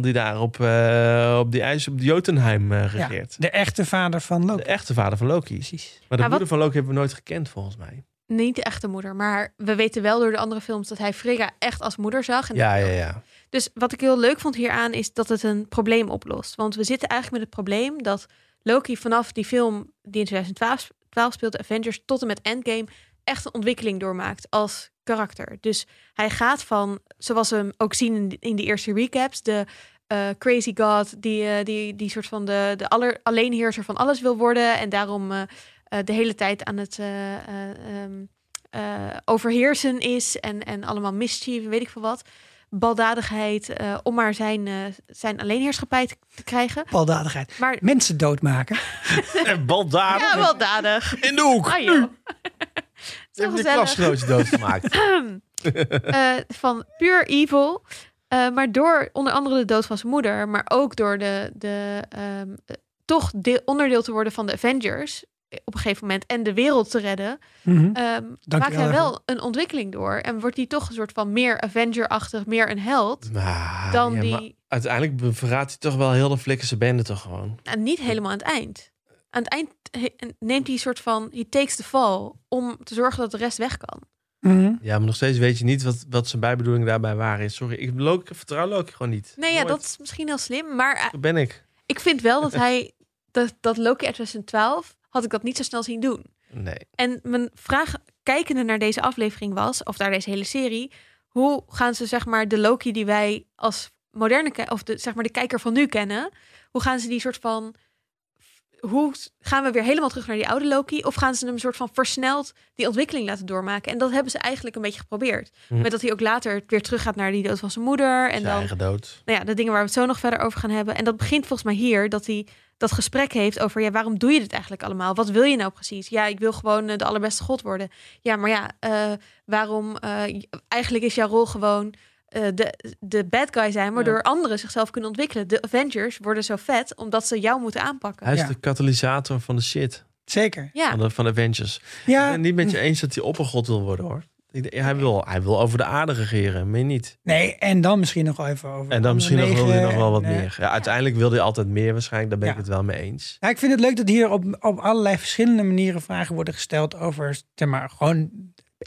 S1: die daar op, eh, op die ijs op Jotunheim eh,
S3: Ja,
S1: regeert.
S3: de echte vader van Loki.
S1: De e- echte vader van Loki.
S3: Precies.
S1: Maar de
S2: Maar wat-
S1: moeder van Loki hebben we nooit gekend, volgens mij.
S2: Niet de echte moeder, maar we weten wel door de andere films dat hij Frigga echt als moeder zag. En
S1: Ja, ja, ja.
S2: Dus wat ik heel leuk vond hieraan is dat het een probleem oplost. Want we zitten eigenlijk met het probleem dat Loki vanaf die film die in 2012 sp- 12 speelde, Avengers, tot en met Endgame, echt een ontwikkeling doormaakt als karakter. Dus hij gaat van, zoals we hem ook zien in die, in die eerste recaps, de eh, crazy god die, eh, die, die soort van de, de aller, alleenheerser van alles wil worden en daarom eh, eh, de hele tijd aan het eh, eh, ehm, eh, overheersen is en, en allemaal mischief en weet ik veel wat baldadigheid eh, om maar zijn, eh, zijn alleenheerschappij te, te krijgen.
S3: Baldadigheid.
S2: Maar
S3: Mensen doodmaken.
S1: En baldadig
S2: ja, baldadig.
S1: in de hoek.
S2: Ah, joh. Zo
S1: Heb je
S2: gezellig.
S1: klasgenootje doodgemaakt?
S2: Eh, van puur evil. Eh, maar door onder andere de dood van zijn moeder, maar ook door de, de ehm, eh, toch deel- onderdeel te worden van de Avengers eh, op een gegeven moment en de wereld te redden,
S3: Mhm.
S2: ehm,
S3: Dank
S2: maakt
S3: je wel
S2: hij wel een ontwikkeling door en wordt hij toch een soort van meer Avenger-achtig, meer een held
S1: Maar,
S2: dan
S1: Nou, ja,
S2: die
S1: maar uiteindelijk verraadt hij toch wel heel de flikkerse bende toch gewoon.
S2: nou, niet helemaal aan het eind. Aan het eind he- neemt hij een soort van he takes the fall om te zorgen dat de rest weg kan.
S3: Mhm.
S1: Ja, maar nog steeds weet je niet wat, wat zijn bijbedoeling daarbij waar is. Sorry, ik, Loki, vertrouw Loki gewoon niet.
S2: Nee, ja,
S1: Nooit.
S2: dat is misschien heel slim, maar eh,
S1: Zo ben ik.
S2: ik vind wel dat hij dat, dat Loki uit 2012 had ik dat niet zo snel zien doen.
S1: Nee.
S2: En mijn vraag kijkende naar deze aflevering was, of naar deze hele serie, hoe gaan ze zeg maar de Loki die wij als moderne ki- of de, zeg maar de kijker van nu kennen, hoe gaan ze die soort van hoe s- gaan we weer helemaal terug naar die oude Loki of gaan ze hem soort van versneld die ontwikkeling laten doormaken? En dat hebben ze eigenlijk een beetje geprobeerd.
S1: Hm.
S2: Met dat hij ook later weer terug gaat naar die dood van zijn moeder en
S1: zijn
S2: dan
S1: eigen dood.
S2: nou ja, de dingen waar we het zo nog verder over gaan hebben. En dat begint volgens mij hier, dat hij dat gesprek heeft over... ja, waarom doe je dit eigenlijk allemaal? Wat wil je nou precies? Ja, ik wil gewoon eh, de allerbeste god worden. Ja, maar ja, eh, waarom... eh, j- eigenlijk is jouw rol gewoon eh, de, de bad guy zijn... waardoor anderen zichzelf kunnen ontwikkelen. De Avengers worden zo vet, omdat ze jou moeten aanpakken.
S1: Hij is
S3: Ja.
S1: de katalysator van de shit.
S3: Zeker.
S2: Ja,
S1: Van, de, van de Avengers. Ik
S3: Ja.
S1: ben niet met je eens dat hij oppergod wil worden hoor. Ik- Hij wil, hij wil over de aarde regeren, meer niet.
S3: Nee, en dan misschien nog even over.
S1: En dan misschien nog, wilde hij nog wel wat
S3: en, eh,
S1: meer. Ja, uiteindelijk wilde hij altijd meer waarschijnlijk. Daar ben ik
S3: Ja.
S1: het wel mee eens.
S3: Ja, ik vind het leuk dat hier op, op allerlei verschillende manieren vragen worden gesteld over, zeg maar, gewoon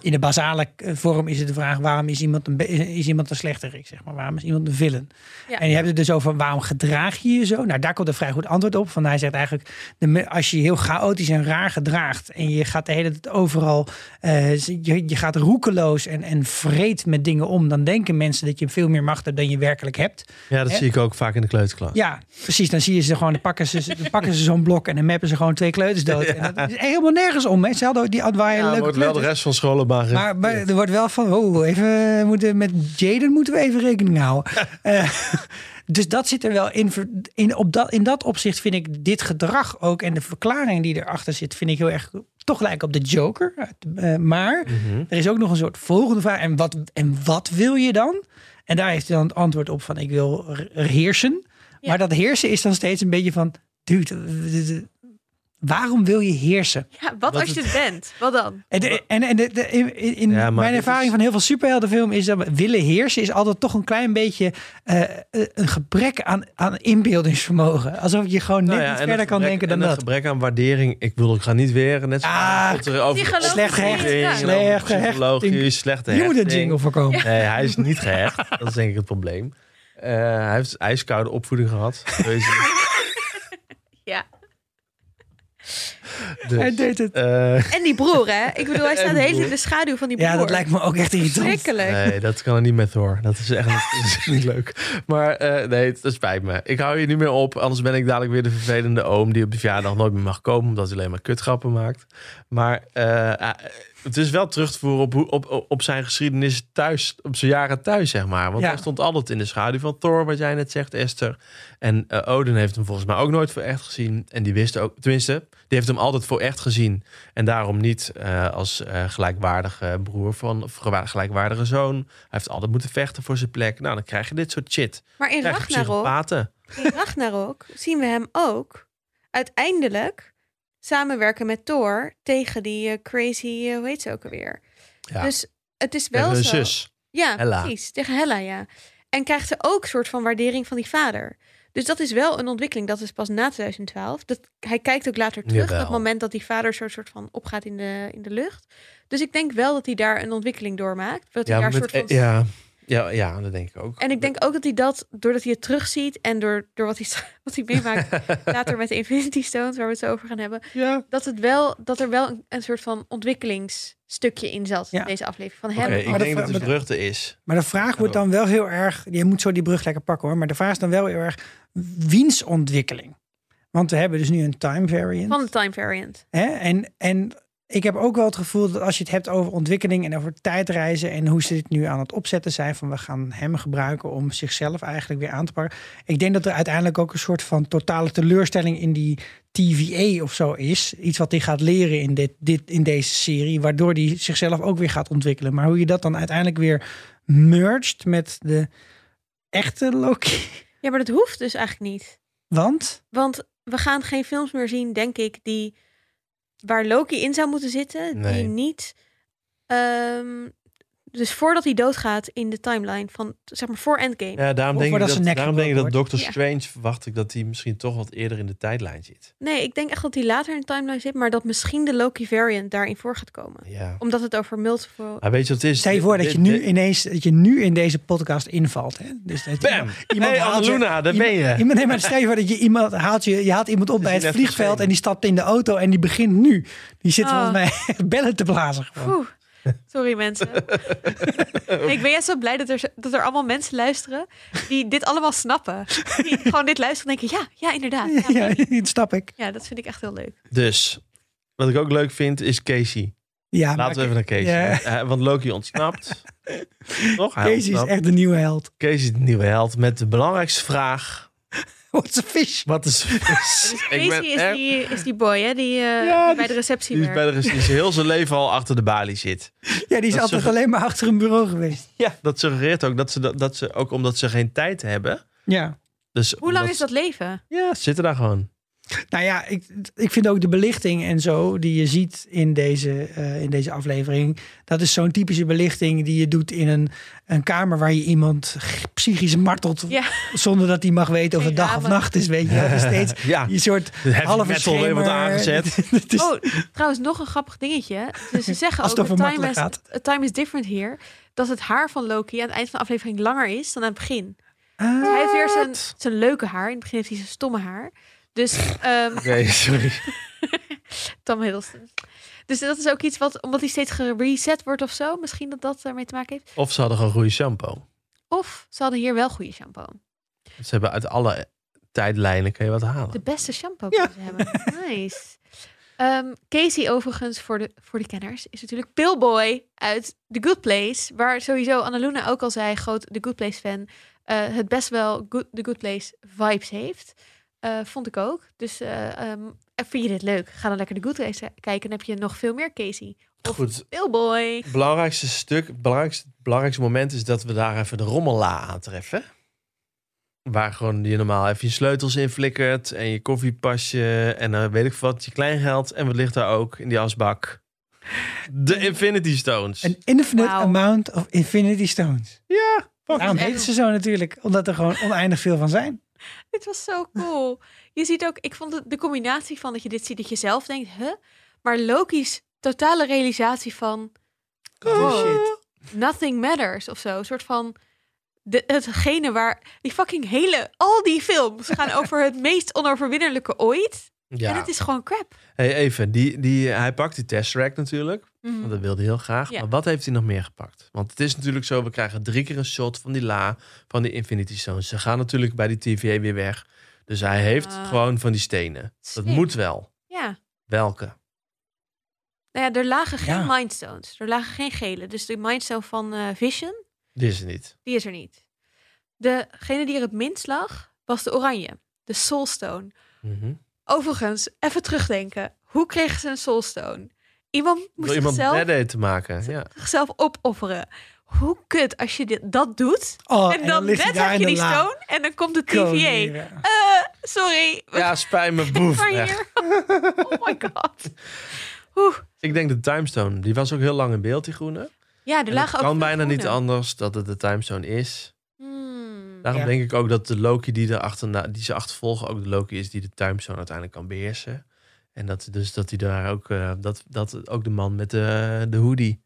S3: in de basale eh, vorm is het de vraag waarom is iemand een, be- is iemand een slechterik, zeg maar, waarom is iemand een villain?
S2: Ja.
S3: En je hebt het dus over waarom gedraag je je zo? Nou, daar komt een vrij goed antwoord op. Van hij zegt eigenlijk, de, me- als je je heel chaotisch en raar gedraagt en je gaat de hele tijd overal, eh, je, je gaat roekeloos en, en vreed met dingen om, dan denken mensen dat je veel meer macht hebt dan je werkelijk hebt.
S1: Ja, dat
S3: Hè?
S1: zie ik ook vaak in de kleuterklas.
S3: Ja, precies. Dan zie je ze gewoon, dan pakken ze, dan pakken ze zo'n blok en dan mappen ze gewoon twee kleuters dood. En dat is helemaal nergens om. Hè. Ze hadden ook die waar je
S1: Ja,
S3: leuke
S1: wordt wel de
S3: kleuters-
S1: rest van scholen maar...
S3: maar, maar er wordt wel van, oh, even, we moeten, met Jaden moeten we even rekening houden. Eh, dus dat zit er wel in. ver- In, op dat, in dat opzicht vind ik dit gedrag ook en de verklaring die erachter zit, vind ik heel erg toch lijken op de Joker. Eh, maar
S1: Mhm.
S3: er is ook nog een soort volgende vraag. En wat, en wat wil je dan? En daar heeft hij dan het antwoord op van ik wil r- heersen.
S2: Ja.
S3: Maar dat heersen is dan steeds een beetje van... Dude, w- w- w- waarom wil je heersen?
S2: ja wat
S1: Wat
S2: als je het bent? Wat dan?
S3: En, de- en, en de- de- in, in- in
S1: Ja, maar
S3: mijn
S1: dit
S3: ervaring
S1: is-
S3: van heel veel superheldenfilm is dat willen heersen is altijd toch een klein beetje eh, eh, een gebrek aan, aan inbeeldingsvermogen. Alsof je gewoon net
S1: Nou ja,
S3: iets
S1: en
S3: verder
S1: het
S3: kan
S1: gebrek-
S3: denken
S1: en
S3: dan
S1: het
S3: dat.
S1: gebrek aan waardering. Ik bedoel, ik ga niet weer... Net zo
S3: Ah,
S1: tot er over
S2: gelooft
S3: Slecht
S2: niet.
S3: gehecht.
S1: opvoeding en
S2: Ja.
S1: over
S3: Slecht gehecht.
S1: psychologie, slechte
S3: Je moet een
S1: hechting.
S3: jingle voorkomen.
S1: Nee, hij is niet gehecht. Dat is denk ik het probleem. Eh, hij heeft ijskoude opvoeding gehad. Wees-
S2: Ja.
S1: Dus,
S3: Hij deed het.
S1: eh,
S2: En die broer, hè? Ik bedoel, hij staat
S1: En
S2: de hele
S1: broer.
S2: tijd in de schaduw van die broer.
S3: Ja, dat lijkt me ook echt irritant.
S2: Schrikkelijk.
S1: Nee, dat kan er niet met hoor. Dat is echt dat is niet leuk. Maar eh, nee, dat spijt me. Ik hou je niet meer op. Anders ben ik dadelijk weer de vervelende oom die op de verjaardag nooit meer mag komen. Omdat hij alleen maar kutgrappen maakt. Maar eh, eh, het is wel terug te voeren op, hoe- op, op zijn geschiedenis thuis. Op zijn jaren thuis, zeg maar. Want
S3: Ja.
S1: hij stond altijd in de schaduw van Thor, wat jij net zegt, Esther. En eh, Odin heeft hem volgens mij ook nooit voor echt gezien. En die wist ook, tenminste, die heeft hem altijd voor echt gezien. En daarom niet eh, als eh, gelijkwaardige broer van, of gewa- gelijkwaardige zoon. Hij heeft altijd moeten vechten voor zijn plek. Nou, dan krijg je dit soort shit.
S2: Maar in
S1: Krijg je
S2: Ragnarok
S1: psychopaten.
S2: In Ragnarok zien we hem ook uiteindelijk samenwerken met Thor tegen die eh, crazy, eh, hoe heet ze ook alweer.
S1: Ja.
S2: Dus het is wel
S1: Tegen
S2: zo.
S1: een zus.
S2: Ja,
S1: Hella.
S2: precies. Tegen Hella, ja. En krijgt ze ook soort van waardering van die vader. Dus dat is wel een ontwikkeling. Dat is pas na 2012. Dat, hij kijkt ook later terug.
S1: Jawel.
S2: Dat moment dat die vader soort, soort van opgaat in de, in de lucht. Dus ik denk wel dat hij daar een ontwikkeling doormaakt. Dat hij
S1: Ja,
S2: daar
S1: met-
S2: soort van
S1: eh, ja, ja, ja, dat denk ik ook.
S2: en ik denk ook dat hij dat, doordat hij het terugziet en door, door wat, hij, wat hij meemaakt later met de Infinity Stones, waar we het zo over gaan hebben,
S1: Ja.
S2: dat, het wel, dat er wel een, een soort van ontwikkelingsstukje in zat
S3: Ja.
S2: in deze aflevering van hem.
S1: Oké,
S3: Maar
S1: Eh, ik
S3: dat-
S1: denk
S2: dus
S1: dat het een
S3: maar-
S1: vruchten is.
S3: Maar de vraag wordt dan wel heel erg. Je moet zo die brug lekker pakken hoor. Maar de vraag is dan wel heel erg. Wiens ontwikkeling? Want we hebben dus nu een time variant.
S2: Van de Time Variant.
S3: Hè? En, en ik heb ook wel het gevoel dat als je het hebt over ontwikkeling en over tijdreizen en hoe ze dit nu aan het opzetten zijn, van we gaan hem gebruiken om zichzelf eigenlijk weer aan te pakken. Ik denk dat er uiteindelijk ook een soort van totale teleurstelling in die TVA of zo is. Iets wat hij gaat leren in, dit, dit, in deze serie, waardoor hij zichzelf ook weer gaat ontwikkelen. Maar hoe je dat dan uiteindelijk weer merged met de echte Loki.
S2: Ja, maar dat hoeft dus eigenlijk niet.
S3: Want
S2: Want we gaan geen films meer zien, denk ik, die waar Loki in zou moeten zitten,
S1: Nee.
S2: die niet. ehm, dus voordat hij doodgaat in de timeline van zeg maar voor Endgame.
S1: Ja, daarom denk
S3: Of
S1: ik
S3: voordat
S1: dat,
S3: zijn nek
S1: daarom denk ik dat
S3: gebroken
S1: Doctor
S2: Ja.
S1: Strange verwacht ik dat hij misschien toch wat eerder in de tijdlijn zit.
S2: Nee, ik denk echt dat hij later in de timeline zit, maar dat misschien de Loki variant daarin voor gaat komen,
S1: Ja.
S2: omdat het over multiple.
S1: Maar weet je wat het is?
S3: stel je voor dat je
S1: Dit-
S3: nu
S1: dit-
S3: ineens, dat je nu in deze podcast invalt. Hè? Dus dat
S1: Bam!
S3: Iemand
S1: hey,
S3: haalt je-
S1: Annaluna, daar ben je.
S3: Iemand, nee, maar stel je voor dat je iemand haalt, je, je haalt iemand op
S1: Is
S3: bij
S1: die net
S3: het vliegveld
S1: verschenen?
S3: en die stapt in de auto en die begint nu. Die zit
S2: Oh.
S3: volgens mij echt bellen te blazen
S1: Ah.
S3: gewoon.
S2: Oeh, sorry mensen. Nee, ik ben juist zo blij dat er, zo- dat er allemaal mensen luisteren die dit allemaal snappen. Die gewoon dit luisteren en denken, ja, ja, inderdaad. Ja,
S3: Ja, dat snap ik.
S2: ja, dat vind ik echt heel leuk.
S1: Dus, wat ik ook leuk vind, is Casey.
S3: Ja, maar
S1: Laten we even naar Casey. Eh, want Loki ontsnapt. Toch? Hij
S3: Casey is
S1: ontsnapt.
S3: echt de nieuwe held.
S1: Casey is de nieuwe held met de belangrijkste vraag.
S3: What's a fish?
S1: Wat is vis?
S2: Dus
S1: Ik
S2: Casey
S1: ben
S2: is
S1: echt-
S2: die, is die boy, hè, die, eh,
S1: Ja,
S2: die
S1: die-
S2: bij de receptie
S1: Die is
S2: werkt.
S1: bij de rest- die is heel zijn leven al achter de balie zit.
S3: Ja, die is
S1: Dat
S3: altijd
S1: ze-
S3: alleen maar achter een bureau geweest.
S1: Ja. Dat suggereert ook dat ze, dat, dat ze ook omdat ze geen tijd hebben.
S3: Ja.
S1: Dus
S2: Hoe lang
S1: omdat
S2: is dat leven?
S1: ze- Ja, ze zitten daar gewoon.
S3: Nou ja, ik, ik vind ook de belichting en zo die je ziet in deze, eh, in deze aflevering. Dat is zo'n typische belichting die je doet in een, een kamer waar je iemand g- psychisch martelt.
S2: Ja.
S3: Zonder dat hij mag weten of
S2: Geen
S3: het dag of
S2: ramen.
S3: nacht is. Weet je, dat is steeds
S1: Ja,
S3: die soort
S1: de heavy
S3: halve
S1: metal weer wordt
S3: schemer.
S1: aangezet.
S3: Het is-
S2: Oh, trouwens, nog een grappig dingetje. Dus ze zeggen
S3: Als
S2: ook,
S3: het over
S2: the time,
S3: martelen
S2: is,
S3: gaat.
S2: the time is different here. Dat het haar van Loki aan het eind van de aflevering langer is dan aan het begin. Dus
S3: Ah,
S2: Hij heeft weer zijn, zijn leuke haar. In het begin heeft hij zijn stomme haar. Dus ehm
S1: Nee, sorry.
S2: Tom Hiddleston. Dus dat is ook iets wat, omdat hij steeds gereset wordt of zo, misschien dat dat ermee te maken heeft.
S1: Of ze hadden gewoon goede shampoo.
S2: Of ze hadden hier wel goede shampoo.
S1: Ze hebben uit alle tijdlijnen kun je wat halen.
S2: De beste shampoo die ze hebben. Nice. Ehm, Casey overigens, voor de, voor de kenners, is natuurlijk Pillboy uit The Good Place. Waar sowieso Annaluna ook al zei, groot The Good Place fan, eh, het best wel good, The Good Place vibes heeft. Eh, vond ik ook. Dus eh, ehm, en vind je dit leuk? Ga dan lekker The Good Place eh, kijken. Dan heb je nog veel meer Casey. Of
S1: Goed.
S2: Pillboy.
S1: Het belangrijkste stuk, het belangrijkste, het belangrijkste moment is dat we daar even de rommella aantreffen. Waar gewoon je normaal even je sleutels in flikkert en je koffiepasje en eh, weet ik veel wat, je kleingeld. En wat ligt daar ook in die asbak? De Infinity Stones.
S3: An Ah, infinite
S2: Wauw.
S3: amount of infinity stones.
S1: ja, fuck.
S3: Daarom
S2: echt-
S3: heten ze zo natuurlijk. Omdat er gewoon oneindig veel van zijn.
S2: Dit was zo cool. Je ziet ook, ik vond de, de combinatie van dat je dit ziet, dat je zelf denkt, huh? Maar Loki's totale realisatie van
S3: Oh, shit.
S2: nothing matters of zo. Een soort van de, hetgene waar die fucking hele, al die films gaan over het meest onoverwinnelijke ooit. En
S1: Ja.
S2: het is gewoon crap.
S1: Hey, even, die, die, hij pakt die Tesseract natuurlijk. Want dat wilde hij heel graag.
S2: Mm. Ja.
S1: Maar wat heeft hij nog meer gepakt? Want het is natuurlijk zo, we krijgen drie keer een shot van die la, van die Infinity Stones. Ze gaan natuurlijk bij die TVA weer weg. Dus hij heeft
S2: Ah.
S1: gewoon van die stenen. Dat
S2: Slim.
S1: moet wel.
S2: Ja.
S1: Welke?
S2: Nou ja, er lagen geen
S3: Ja.
S2: mindstones. Er lagen geen gele. Dus de mindstone van eh, Vision,
S1: Die is er niet.
S2: die is er niet. Degene die er het minst lag, was de oranje. De soulstone.
S1: Mhm.
S2: Overigens, even terugdenken. Hoe kregen ze een soulstone? Iemand moest
S1: Door iemand
S2: zichzelf,
S1: dead te maken. Ja.
S2: zichzelf opofferen. Hoe kut als je dit, dat doet.
S3: Oh,
S2: en dan
S3: ligt
S2: net
S3: hij
S2: heb
S3: daar
S2: je
S3: in
S2: die
S3: de la.
S2: stone en dan komt de TVA.
S3: Koningin.
S2: Eh, sorry. we
S1: ja, spijt me, boef.
S2: gaan
S1: weg.
S2: hier. oh my god. Oeh.
S1: Ik denk de Timestone. Die was ook heel lang in beeld, die groene.
S2: Ja, er
S1: En het
S2: lagen ook
S1: kan
S2: veel
S1: bijna niet
S2: groene.
S1: anders dat het de Timestone is.
S2: Hmm.
S1: Daarom
S3: Ja.
S1: denk ik ook dat de Loki die, erachterna, die ze achtervolgen ook de Loki is die de Timezone uiteindelijk kan beheersen. En dat dus dat hij daar ook, eh, dat, dat ook de man met de, de hoodie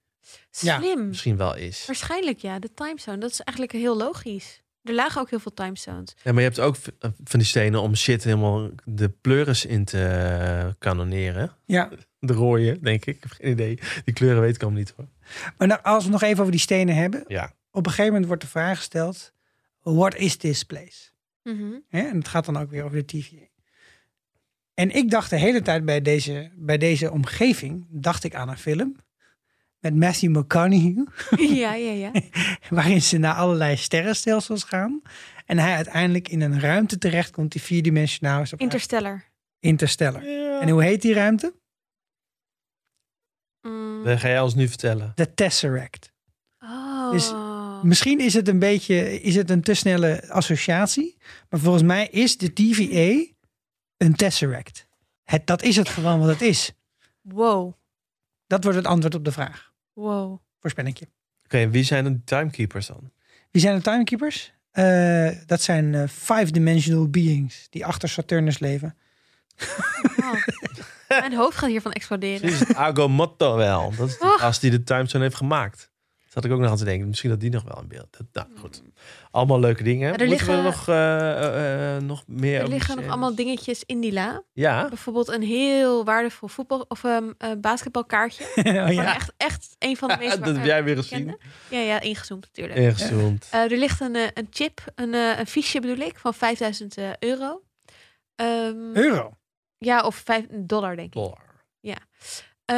S3: Ja.
S2: Slim.
S1: misschien wel is.
S2: Waarschijnlijk ja, de timezone. Dat is eigenlijk heel logisch. Er lagen ook heel veel timezones.
S1: Ja, maar je hebt ook v- eh, van die stenen om shit helemaal de pleuris in te eh, kanoneren.
S3: Ja,
S1: De rode, denk ik. Ik heb geen idee. Die kleuren weet ik allemaal niet hoor.
S3: maar nou, als we het nog even over die stenen hebben.
S1: Ja.
S3: Op een gegeven moment wordt de vraag gesteld. What is this place?
S2: Mhm.
S3: Hè, En het gaat dan ook weer over de TVA. En ik dacht de hele tijd bij deze, bij deze omgeving, dacht ik aan een film met Matthew McConaughey,
S2: ja, ja, ja.
S3: waarin ze naar allerlei sterrenstelsels gaan. En hij uiteindelijk in een ruimte terechtkomt die vierdimensionaal is op aarde.
S2: Interstellar.
S3: Interstellar. En hoe heet die ruimte?
S2: Mm.
S1: Dat ga jij ons nu vertellen.
S3: De Tesseract.
S2: Oh.
S3: Dus Misschien is het een beetje is het een te snelle associatie. Maar volgens mij is de TVA een tesseract. Het, dat is het gewoon wat het is.
S2: Wow.
S3: Dat wordt het antwoord op de vraag.
S2: Wow.
S3: Voorspel ik je.
S1: Oké, wie zijn de timekeepers dan?
S3: Wie zijn de timekeepers? Eh, dat zijn eh, five-dimensional beings die achter Saturnus leven.
S2: Wow. Mijn hoofd gaat hiervan exploderen.
S1: Precies, Agomotto wel. Dat is
S3: Oh.
S1: de gast die de timezone heeft gemaakt. Zat ik ook nog aan te denken. Misschien dat die nog wel in beeld. Dat, nou, goed. Allemaal leuke dingen.
S2: Maar er
S1: Moeten we
S2: liggen-
S1: nog, eh, eh, nog meer...
S2: Er
S1: over
S2: liggen nog
S1: series?
S2: allemaal dingetjes in die la.
S3: Oh.
S1: Ja,
S2: Bijvoorbeeld een heel waardevol voetbal- of ehm, eh, basketbalkaartje.
S3: oh,
S2: Van
S3: ja.
S2: Echt, echt een van de meest...
S1: dat heb jij weer gezien.
S2: Kende? Ja, ja, ingezoomd natuurlijk.
S1: Ingezoomd.
S2: Eh, er ligt een, eh, een chip, een, eh, een fiche bedoel ik, van 5000 eh, euro. Ehm,
S3: Euro. Oh
S2: Ja, of 5 dollar denk ik.
S1: Dollar.
S2: Ehm,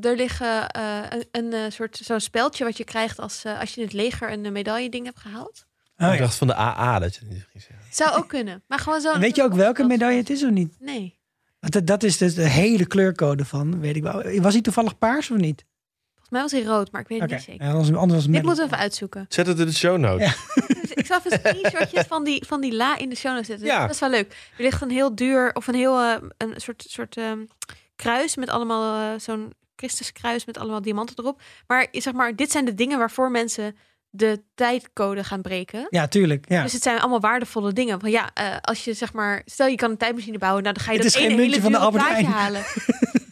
S2: er liggen eh, een, een eh, soort zo'n speldje wat je krijgt als, eh, als je in het leger een eh, medaille ding hebt gehaald.
S3: Oh,
S1: Ik
S3: ja.
S1: dacht van de AA dat je het niet ging zeggen.
S2: Zou ook kunnen. Maar gewoon zo'n.
S3: Weet je ook welke medaille het is of niet?
S2: Nee,
S3: Want dat, dat is dus de hele kleurcode van, weet ik wel. Was hij toevallig paars of niet?
S2: volgens mij was hij rood, maar ik weet het
S3: Oké,
S2: niet zeker.
S3: Ja, anders anders was het
S2: Dit
S3: melk.
S2: moeten we even uitzoeken.
S1: Zet het in de show notes.
S2: Dus ik zal even screenshotjes van die, van die la in de show notes zetten.
S1: Ja.
S2: Dat is wel leuk. Er ligt een heel duur, of een heel eh, een soort, soort ehm, kruis met allemaal eh, zo'n Christuskruis met allemaal diamanten erop. Maar zeg maar, dit zijn de dingen waarvoor mensen de tijdcode gaan breken.
S3: Ja, tuurlijk. Ja.
S2: Dus het zijn allemaal waardevolle dingen. Van ja, eh, als je zeg maar, stel je kan een tijdmachine bouwen, nou dan ga je
S3: Het
S2: dat
S3: is geen
S2: ene
S3: muntje
S2: hele
S3: van de
S2: dure
S3: Albert
S2: plaatje
S3: Heijn.
S2: halen.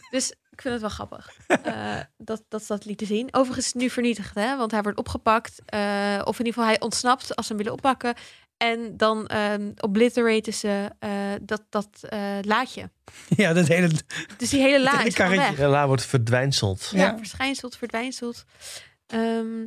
S2: dus ik vind het wel grappig eh, dat, dat ze dat lieten zien. Overigens is het nu vernietigd, hè? want hij wordt opgepakt. eh, of in ieder geval hij ontsnapt als ze hem willen oppakken. En dan ehm obliteraten ze eh, dat, dat eh, laadje.
S3: ja, dat hele...
S2: Dus die hele la
S3: hele
S2: is gewoon
S3: karretje.
S2: weg.
S1: Ja, La wordt verdwijnseld.
S2: Ja,
S3: Ja.
S2: verschijnselt, verdwijnselt. Ehm,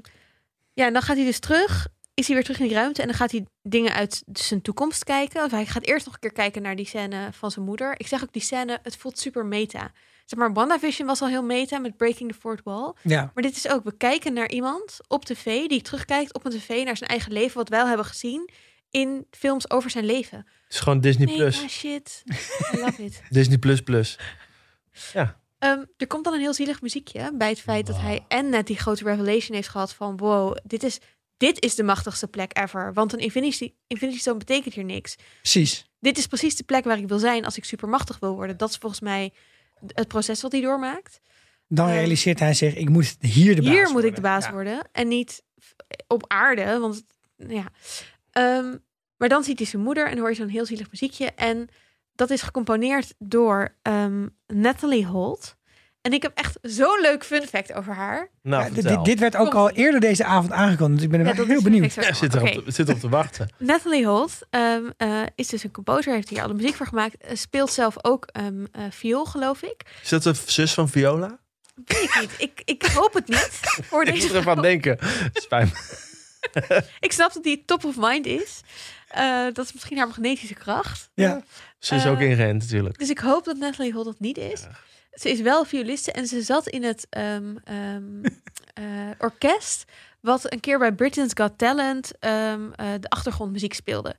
S2: ja, en dan gaat hij dus terug. Is hij weer terug in die ruimte en dan gaat hij dingen uit zijn toekomst kijken. Of hij gaat eerst nog een keer kijken naar die scène van zijn moeder. Ik zeg ook die scène, het voelt super meta. Zeg maar, WandaVision was al heel meta met Breaking the Fourth Wall.
S3: Ja.
S2: Maar dit is ook, we kijken naar iemand op tv die terugkijkt op een tv naar zijn eigen leven. Wat wij al hebben gezien in films over zijn leven.
S1: Het is gewoon Disney
S2: Meta
S1: Plus.
S2: shit. I love it.
S1: Disney Plus Plus.
S2: Ehm, er komt dan een heel zielig muziekje bij het feit dat hij en net die grote revelation heeft gehad van wow, dit is, dit is de machtigste plek ever. Want een Infinity, Infinity Stone betekent hier niks.
S3: Precies.
S2: Dit is precies de plek waar ik wil zijn als ik supermachtig wil worden. Dat is volgens mij het proces wat hij doormaakt.
S3: Dan
S2: Ehm,
S3: realiseert hij zich, ik moet hier de baas
S2: hier moet
S3: worden.
S2: ik de baas
S3: Ja.
S2: worden en niet f- op aarde, want ja. Ehm, maar dan ziet hij zijn moeder en hoor je zo'n heel zielig muziekje. En dat is gecomponeerd door ehm, Natalie Holt. En ik heb echt zo'n leuk fun fact over haar.
S1: Nou,
S3: Ja, dit-
S1: vertel.
S3: dit, dit werd ook
S2: Kom.
S3: al eerder deze avond aangekondigd. Dus ik ben er wel heel benieuwd.
S1: Ja, zit, er op, te- zit op te wachten.
S2: Natalie Holt ehm, eh, is dus een composer, heeft hier alle muziek voor gemaakt. eh, speelt zelf ook ehm eh, viool, geloof ik.
S1: Is dat de zus van Viola?
S2: Weet ik niet. Ik, ik hoop het niet. Voor
S1: Ik moet
S2: deze
S1: ervan denken. Spijt me.
S2: ik snap dat die top of mind is. Eh, dat is misschien haar magnetische kracht.
S3: Ja.
S1: Ze is ook
S2: Eh,
S1: ingerend natuurlijk.
S2: Dus ik hoop dat Natalie Holt dat niet is. Ze is wel violiste en ze zat in het ehm, ehm, eh, orkest... wat een keer bij Britain's Got Talent ehm, eh, de achtergrondmuziek speelde.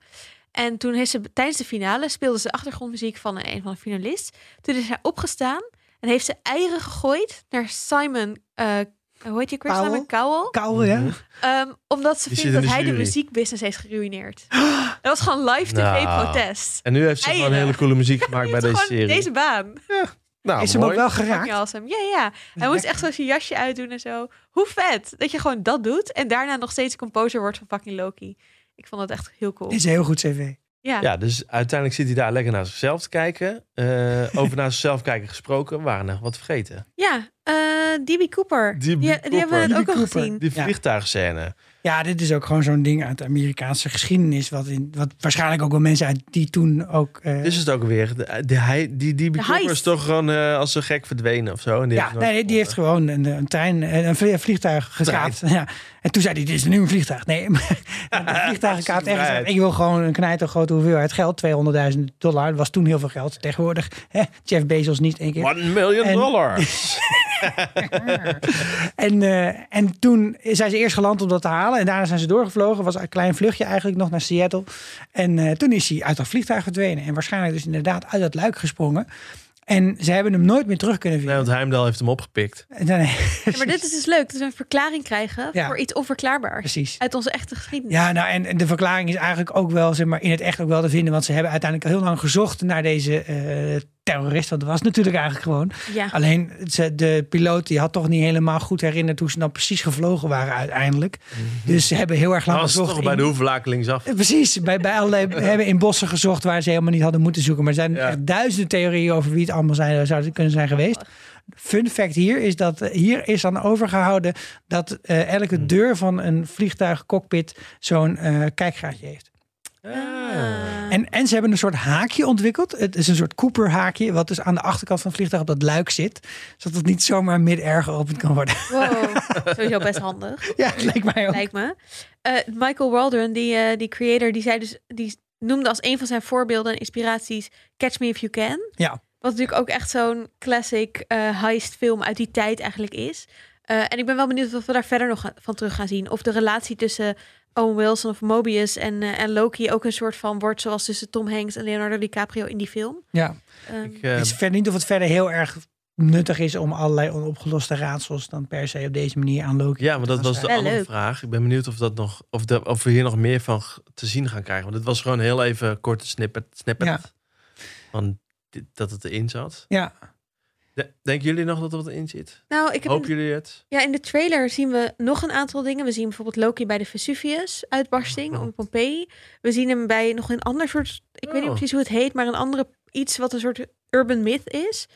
S2: En toen heeft ze tijdens de finale speelde ze achtergrondmuziek van een, een van de finalist. Toen is zij opgestaan en heeft ze eieren gegooid naar Simon... eh hoe heet je weer?
S3: Cowell.
S2: Simon Cowell.
S3: Koude,
S1: Mm-hmm.
S3: ja?
S2: Ehm, omdat ze
S1: Die
S2: vindt
S1: zit in
S2: dat
S1: de
S2: hij de
S1: jury.
S2: muziekbusiness heeft geruineerd. Dat was gewoon live
S1: Nou.
S2: tv-protest.
S1: En nu heeft ze gewoon
S2: eieren.
S1: hele coole muziek gemaakt bij deze serie.
S2: deze baan.
S1: Nou,
S3: is hem ook
S1: mooi.
S3: wel
S2: Fucking
S3: geraakt?
S2: awesome. Ja, ja. Hij moest echt zo zijn jasje uitdoen en zo. Hoe vet dat je gewoon dat doet en daarna nog steeds composer wordt van fucking Loki. Ik vond dat echt heel cool.
S3: Dit is een heel goed cv.
S2: Ja.
S1: Ja, dus uiteindelijk zit hij daar lekker naar zichzelf te kijken. Eh, over naar zichzelf kijken gesproken, we waren nog wat vergeten.
S2: Ja, eh DB Cooper.
S1: DB
S2: Die, die
S1: Cooper.
S2: hebben we net
S3: DB
S2: ook al
S3: Cooper.
S2: gezien.
S1: Die
S3: Ja.
S1: vliegtuigscène.
S3: Ja, dit is ook gewoon zo'n ding uit de Amerikaanse geschiedenis. Wat, in, wat waarschijnlijk ook wel mensen uit die toen ook. eh,
S1: Dus is het ook weer. De, de, hij- die die Big Bopper
S2: heist.
S1: is toch gewoon eh, als een gek verdwenen of zo. En die
S3: ja,
S1: heeft het
S3: nee,
S1: nooit
S3: die heeft
S1: gevonden.
S3: gewoon een, een trein, eh, een vlie- vliegtuig gekaapt. Ja. En toen zei hij: Dit is nu een vliegtuig. Nee, maar een vliegtuig gekaapt. En gezegd,
S1: Vrijheid.
S3: ik wil gewoon een knijter grote hoeveelheid geld. 200.000 dollar. Dat was toen heel veel geld. Tegenwoordig, hè, Jeff Bezos niet één keer.
S1: One million
S3: En-
S1: dollar.
S3: En, eh, en toen zijn ze eerst geland om dat te halen. En daarna zijn ze doorgevlogen. Was een klein vluchtje eigenlijk nog naar Seattle. En eh, toen is hij uit dat vliegtuig verdwenen. En waarschijnlijk dus inderdaad uit dat luik gesprongen. En ze hebben hem nooit meer terug kunnen
S1: nee,
S3: vinden.
S1: want Heimdall heeft hem opgepikt.
S3: En dan-
S2: Ja, maar dit is dus leuk, dat we een verklaring krijgen
S3: Ja.
S2: voor iets onverklaarbaars.
S3: Precies.
S2: Uit onze echte geschiedenis.
S3: Ja, nou, en, en de verklaring is eigenlijk ook wel zeg maar, in het echt ook wel te vinden. Want ze hebben uiteindelijk al heel lang gezocht naar deze eh, terrorist. Want dat was natuurlijk eigenlijk gewoon.
S2: Ja.
S3: Alleen ze, de piloot die had toch niet helemaal goed herinnerd hoe ze nou precies gevlogen waren uiteindelijk. Dus ze hebben heel erg lang
S1: Hij Mhm. was
S3: gezocht.
S1: toch
S3: in-
S1: bij de hoevenlaak linksaf.
S3: Eh, Precies, bij, bij allerlei, we hebben in bossen gezocht waar ze helemaal niet hadden moeten zoeken. Maar er zijn
S1: Ja.
S3: echt duizenden theorieën over wie het allemaal zijn, zouden kunnen zijn geweest. Fun fact hier is dat eh, hier is aan overgehouden dat eh, elke deur van een vliegtuigcockpit zo'n eh, kijkgaatje heeft.
S2: Eh,
S1: Ah.
S3: En, en ze hebben een soort haakje ontwikkeld. Het is een soort Cooper-haakje, wat dus aan de achterkant van het vliegtuig op dat luik zit. Zodat het niet zomaar mid-air geopend kan worden.
S2: Ah. Wow, sowieso best handig,
S3: ja, het lijkt mij ook.
S2: lijkt me. Eh, Michael Waldron, die, eh, die creator, die zei dus, die noemde als een van zijn voorbeelden en inspiraties Catch Me If You Can.
S3: Ja.
S2: Wat natuurlijk ook echt zo'n classic eh heist film uit die tijd eigenlijk is. Eh, en ik ben wel benieuwd wat we daar verder nog ga- van terug gaan zien. Of de relatie tussen Owen Wilson of Mobius en, eh, en Loki ook een soort van wordt zoals tussen Tom Hanks en Leonardo DiCaprio in die film.
S3: ja.
S2: Ehm,
S1: Ik, eh,
S3: Het is verder niet of het verder heel erg nuttig is om allerlei onopgeloste raadsels dan per se op deze manier aan Loki.
S1: ja, want dat was de
S2: Wel
S1: andere
S2: leuk.
S1: vraag. Ik ben benieuwd of, dat nog, of, dat- of we hier nog meer van g- te zien gaan krijgen. Want het was gewoon heel even een korte snippet, snippet
S3: Ja.
S1: van dit- dat het erin zat.
S3: Ja.
S1: De- denken jullie nog dat er wat in zit?
S2: nou, ik heb een-
S1: Hopen jullie het?
S2: Ja, in de trailer zien we nog een aantal dingen. We zien bijvoorbeeld Loki bij de Vesuvius-uitbarsting
S1: Oh.
S2: om Pompeii. We zien hem bij nog een ander soort, ik weet
S1: Oh.
S2: niet precies hoe het heet, maar een andere iets wat een soort urban myth is.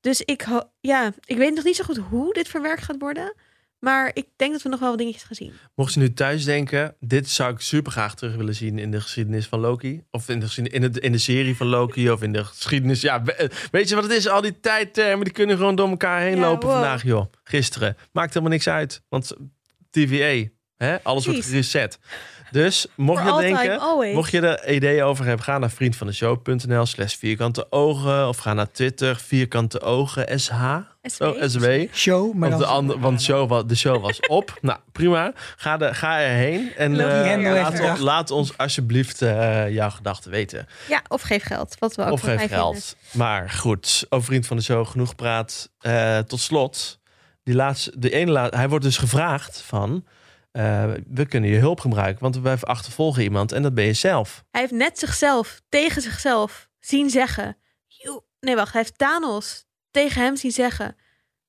S2: Dus ik, ho- ja, ik weet nog niet zo goed hoe dit verwerkt gaat worden. Maar ik denk dat we nog wel wat dingetjes gaan zien.
S1: Mocht je nu thuis denken, dit zou ik super graag terug willen zien in de geschiedenis van Loki. Of in de, geschiedenis- in het, in de serie van Loki of in de geschiedenis. Ja, we- eh, weet je wat het is? Al die tijdtermen die kunnen gewoon door elkaar heen
S2: Ja,
S1: lopen
S2: wow.
S1: vandaag, joh. Gisteren. Maakt helemaal niks uit. Want TVA, hè? alles wordt
S2: Precies.
S1: gereset. Dus mocht je
S2: For
S1: dat
S2: all
S1: denken,
S2: time, always.
S1: Mocht je er ideeën over hebben, ga naar vriendvandeshow.nl slash vierkante ogen. Of ga naar Twitter, vierkante ogen, SH.
S2: SW.
S1: Oh, SW.
S3: Show, maar
S1: Want
S3: dan
S1: de, ander- want show wa- de show was op. nou, prima. Ga, de, ga erheen. En
S2: Logie
S1: eh,
S3: Hendel heeft
S1: laat,
S3: bedacht.
S1: laat ons alsjeblieft eh, jouw gedachten weten.
S2: Ja, of geef geld. Wat we ook
S1: of
S2: dus. van
S1: geef
S2: mij
S1: geld.
S2: vinden.
S1: Maar goed, over Vriend van de Show genoeg praat. Eh, tot slot, die laatste, de ene laat, hij wordt dus gevraagd van... eh, we kunnen je hulp gebruiken, want wij achtervolgen iemand en dat ben je zelf.
S2: Hij heeft net zichzelf tegen zichzelf zien zeggen. You... Nee, wacht. Hij heeft Thanos tegen hem zien zeggen.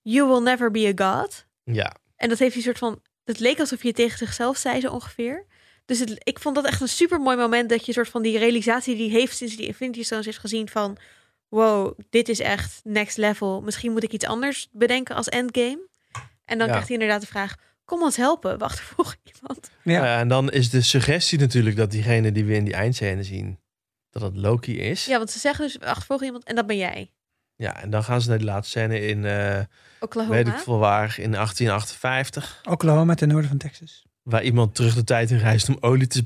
S2: You will never be a god.
S1: Ja,
S2: En dat heeft hij een soort van. Het leek alsof je het tegen zichzelf zei, zo ongeveer. Dus het, ik vond dat echt een super mooi moment. Dat je een soort van die realisatie die hij heeft sinds hij die Infinity Stones heeft gezien. Van wow, dit is echt next level. Misschien moet ik iets anders bedenken als endgame. En
S1: Ja.
S2: dan krijgt hij inderdaad de vraag: kom ons helpen. Wacht voor iemand.
S3: Ja.
S1: Eh, en dan is de suggestie natuurlijk dat diegene die we in die eindscène zien, dat het Loki is.
S2: Ja, want ze zeggen dus: wacht voor iemand. En dat ben jij.
S1: Ja, en dan gaan ze naar die laatste scène in, eh,
S2: Oklahoma.
S1: weet ik veel waar, in 1858.
S3: Oklahoma ten noorden van Texas.
S1: Waar iemand terug de tijd in reist om olie te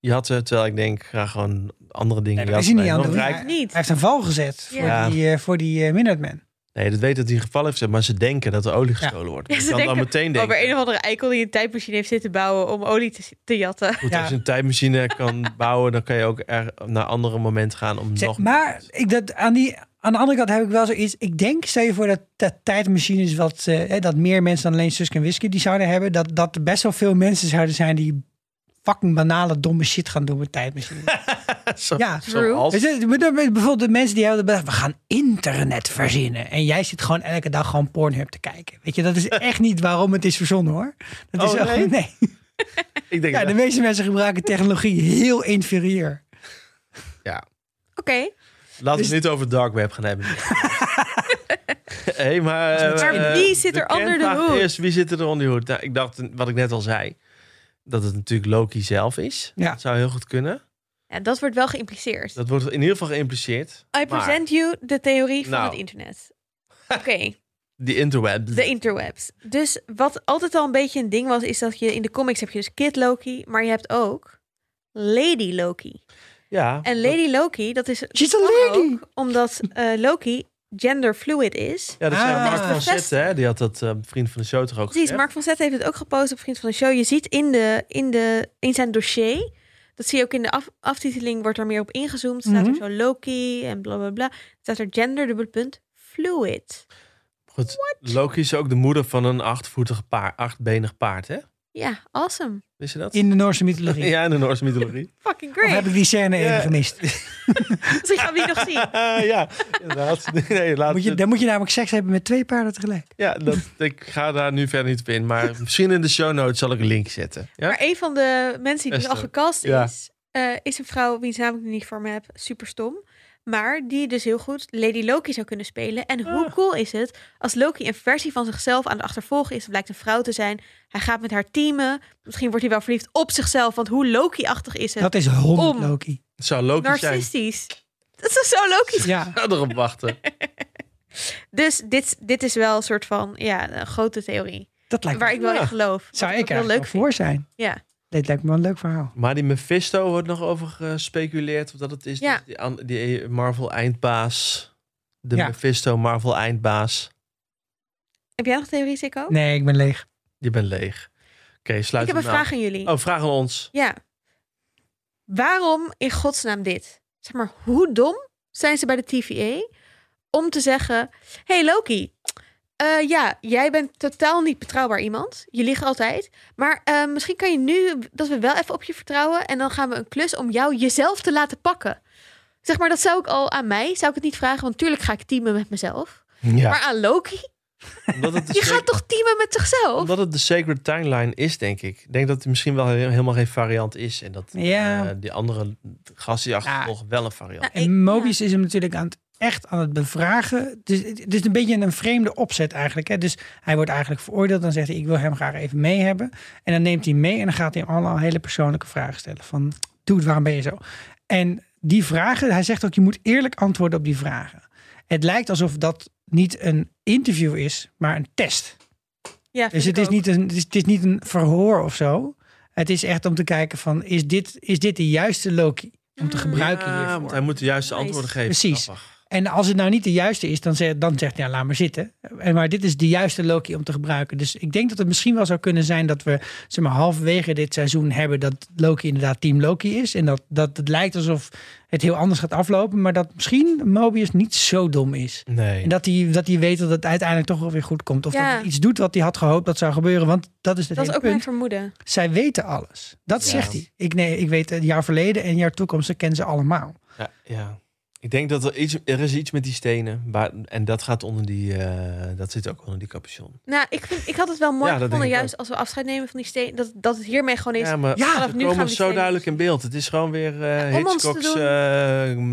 S1: jatten. Terwijl ik denk, ga gewoon andere dingen
S3: Nee, dat is hij
S1: jatten.
S3: niet aan
S1: Nee,
S3: het
S1: want
S3: doen.
S1: rijk-
S2: Of niet.
S3: Hij heeft een val gezet voor
S2: Ja.
S3: die, eh, voor die eh, Minutemen.
S1: Nee, dat weet dat hij een geval heeft, maar ze denken dat er olie gestolen wordt.
S2: Ja,
S1: Je
S2: ze
S1: kan dan
S2: denken-
S1: meteen
S2: Over
S1: denken.
S2: een of andere eikel die een tijdmachine heeft zitten bouwen om olie te, te jatten.
S1: Goed,
S3: Ja.
S1: als je een tijdmachine kan bouwen, dan kan je ook er naar andere momenten gaan om
S3: Zeg,
S1: nog...
S3: maar ik, dat, aan, die, aan de andere kant heb ik wel zoiets. Ik denk, stel je voor dat, dat tijdmachines, wat, eh, hè, dat meer mensen dan alleen Suske en Whisky die zouden hebben, dat, dat er best wel veel mensen zouden zijn die fucking banale, domme shit gaan doen met tijdmachines.
S1: Zo-
S3: ja.
S1: zoals-
S3: Weet je, maar dan Bijvoorbeeld de mensen die hebben bedacht, we gaan internet verzinnen. En jij zit gewoon elke dag gewoon Pornhub te kijken. Weet je, dat is echt niet waarom het is verzonnen hoor. Dat
S1: Oh,
S3: is echt-
S1: nee?
S3: nee.
S1: Ik denk
S3: Ja, de
S1: dat-
S3: meeste mensen gebruiken technologie heel inferieur.
S1: ja.
S2: Oké.
S1: Laten we
S3: Dus-
S1: het niet over dark web gaan hebben. hey, maar,
S3: Dus met-
S1: eh,
S2: Maar wie zit
S1: de
S2: er onder de
S1: kernvraag
S2: hoed?
S1: Is, wie zit er onder de hoed? Nou, ik dacht, wat ik net al zei. dat het natuurlijk Loki zelf is.
S3: Ja.
S1: Dat zou heel goed kunnen.
S2: Ja, dat wordt wel geïmpliceerd.
S1: Dat wordt in ieder geval geïmpliceerd.
S2: I present you de theorie van
S1: Nou.
S2: het internet. Oké,
S1: Die interweb.
S2: de interwebs. Dus wat altijd al een beetje een ding was, is dat je in de comics heb je dus Kid Loki, maar je hebt ook Lady Loki.
S1: ja.
S2: En Lady Loki, dat is
S3: She's a
S2: kan
S3: lady.
S2: ook omdat eh, Loki genderfluid is.
S1: Ja, dat zei
S3: Ah.
S1: Mark van
S2: Bevestigd.
S1: Zetten, hè? Die had dat eh, vriend van de show toch ook
S2: Precies,
S1: gezegd?
S2: Mark van Zet heeft het ook gepost op Vriend van de Show. Je ziet in, de, in, de, in zijn dossier, dat zie je ook in de af, aftiteling, wordt er meer op ingezoomd. Staat
S3: Mhm.
S2: er zo Loki en bla bla bla. Staat er gender, dubbel punt, fluid.
S1: Goed, Loki is ook de moeder van een achtvoetig paard, achtbenig paard, hè?
S2: Ja, awesome.
S1: Wist je dat?
S3: In de Noorse mythologie.
S1: Ja, in de Noorse mythologie.
S2: Fucking
S3: Of
S2: great.
S3: heb ik die scène
S1: Ja.
S3: even gemist?
S2: Misschien gaan we die nog zien.
S1: ja, inderdaad. Nee, laat
S3: Moet je, dan moet je namelijk seks hebben met twee paarden tegelijk.
S1: Ja, dat, ik ga daar nu verder niet op in. Maar misschien in de show notes zal ik een link zetten. Ja?
S2: Maar een van de mensen die dus al
S1: Esther,
S2: gecast
S1: ja.
S2: is, eh, is een vrouw wiens naam ik nu niet voor me heb. Super stom. Maar die dus heel goed Lady Loki zou kunnen spelen. En hoe
S1: Ah.
S2: cool is het als Loki een versie van zichzelf aan het achtervolgen is. Het blijkt een vrouw te zijn. Hij gaat met haar teamen. Misschien wordt hij wel verliefd op zichzelf. Want hoe Loki-achtig is het?
S3: Dat is 100
S2: Om.
S3: Loki.
S1: Het zou Loki zijn.
S2: Narcistisch. Dat is zo Loki.
S3: Ja.
S1: Ik ga erop wachten.
S2: Dus dit, dit is wel een soort van ja, een grote theorie.
S3: Dat lijkt
S2: Waar
S3: me.
S2: ik wel
S1: Ja.
S2: in geloof. Wat
S3: Zou
S2: ook
S3: ik
S2: wel
S3: er leuk
S2: vind.
S3: voor zijn?
S2: Ja.
S3: Dit lijkt me wel een leuk verhaal.
S1: Maar die Mephisto wordt nog over gespeculeerd. Of dat het is
S2: Ja.
S1: dus die, an- die Marvel-eindbaas. De
S3: Ja.
S1: Mephisto Marvel-eindbaas.
S2: Heb jij nog theorie, Sikko?
S3: Nee, ik ben leeg.
S1: Je bent leeg. Oké,
S2: ik
S1: sluit
S2: heb een
S1: hem af.
S2: vraag aan jullie.
S1: Oh, vraag aan ons.
S2: Ja. Waarom in godsnaam dit? Zeg maar, hoe dom zijn ze bij de TVA om te zeggen: Hey Loki, eh, ja, jij bent totaal niet betrouwbaar iemand. Je liegt altijd. Maar eh, misschien kan je nu dat we wel even op je vertrouwen en dan gaan we een klus om jou jezelf te laten pakken. Zeg maar, dat zou ik al aan mij, zou ik het niet vragen, want tuurlijk ga ik teamen met mezelf.
S1: Ja.
S2: Maar aan Loki,
S1: Omdat het de
S2: je
S1: sec-
S2: gaat toch teamen met zichzelf?
S1: omdat het de Sacred Timeline is, denk ik. Ik denk dat het misschien wel he- helemaal geen variant is. En dat
S3: Ja.
S1: eh, die andere gast die achtervolgt wel een variant.
S2: Nou, ik-
S3: En Mobius is hem natuurlijk aan het, echt aan het bevragen. Dus het het is een beetje een vreemde opzet eigenlijk. Hè? Dus hij wordt eigenlijk veroordeeld. Dan zegt hij, ik wil hem graag even mee hebben. En dan neemt hij hem mee en dan gaat hij hem allemaal hele persoonlijke vragen stellen. Van, dude, waarom ben je zo? En die vragen, hij zegt ook, je moet eerlijk antwoorden op die vragen. Het lijkt alsof dat niet een interview is, maar een test.
S2: Ja, vind
S3: Dus het
S2: ik
S3: is,
S2: ook.
S3: niet een, het, is, het is niet een verhoor of zo. Het is echt om te kijken van, is dit, is dit de juiste Loki? Om te
S2: Mm.
S3: gebruiken
S1: Ja,
S3: hiervoor.
S1: want hij moet de juiste
S2: Nice.
S1: antwoorden geven.
S3: Precies.
S1: Grappig.
S3: En als het nou niet de juiste is, dan zegt, dan zegt hij, ja, laat maar zitten. En Maar dit is de juiste Loki om te gebruiken. Dus ik denk dat het misschien wel zou kunnen zijn dat we zeg maar, halverwege dit seizoen hebben dat Loki inderdaad Team Loki is. En dat, dat het lijkt alsof het heel anders gaat aflopen. Maar dat misschien Mobius niet zo dom is.
S1: Nee.
S3: En dat hij, dat hij weet dat het uiteindelijk toch wel weer goed komt. Of
S2: Ja.
S3: dat het iets doet wat hij had gehoopt dat zou gebeuren. Want dat is het
S2: Dat is
S3: hele
S2: ook
S3: punt.
S2: mijn vermoeden.
S3: Zij weten alles. Dat
S1: Ja.
S3: zegt hij. Ik, nee, ik weet eh, jouw verleden en jouw toekomst. Dat kennen ze allemaal.
S1: Ja, ja. Ik denk dat er iets, er is iets met die stenen. Waar, en dat gaat onder die, eh, dat zit ook onder die capuchon.
S2: Nou, ik, vind, ik had het wel mooi
S1: Ja, dat
S2: gevonden,
S1: denk ik
S2: juist als we afscheid nemen van die steen, dat, dat het hiermee gewoon is.
S1: Ja, maar
S3: Ja,
S1: ze
S2: vanaf nu gaan
S1: komen
S2: we die
S1: zo
S2: stenen
S1: duidelijk in beeld. Het is gewoon weer eh
S2: om ons te
S1: Hitchcock's
S2: doen.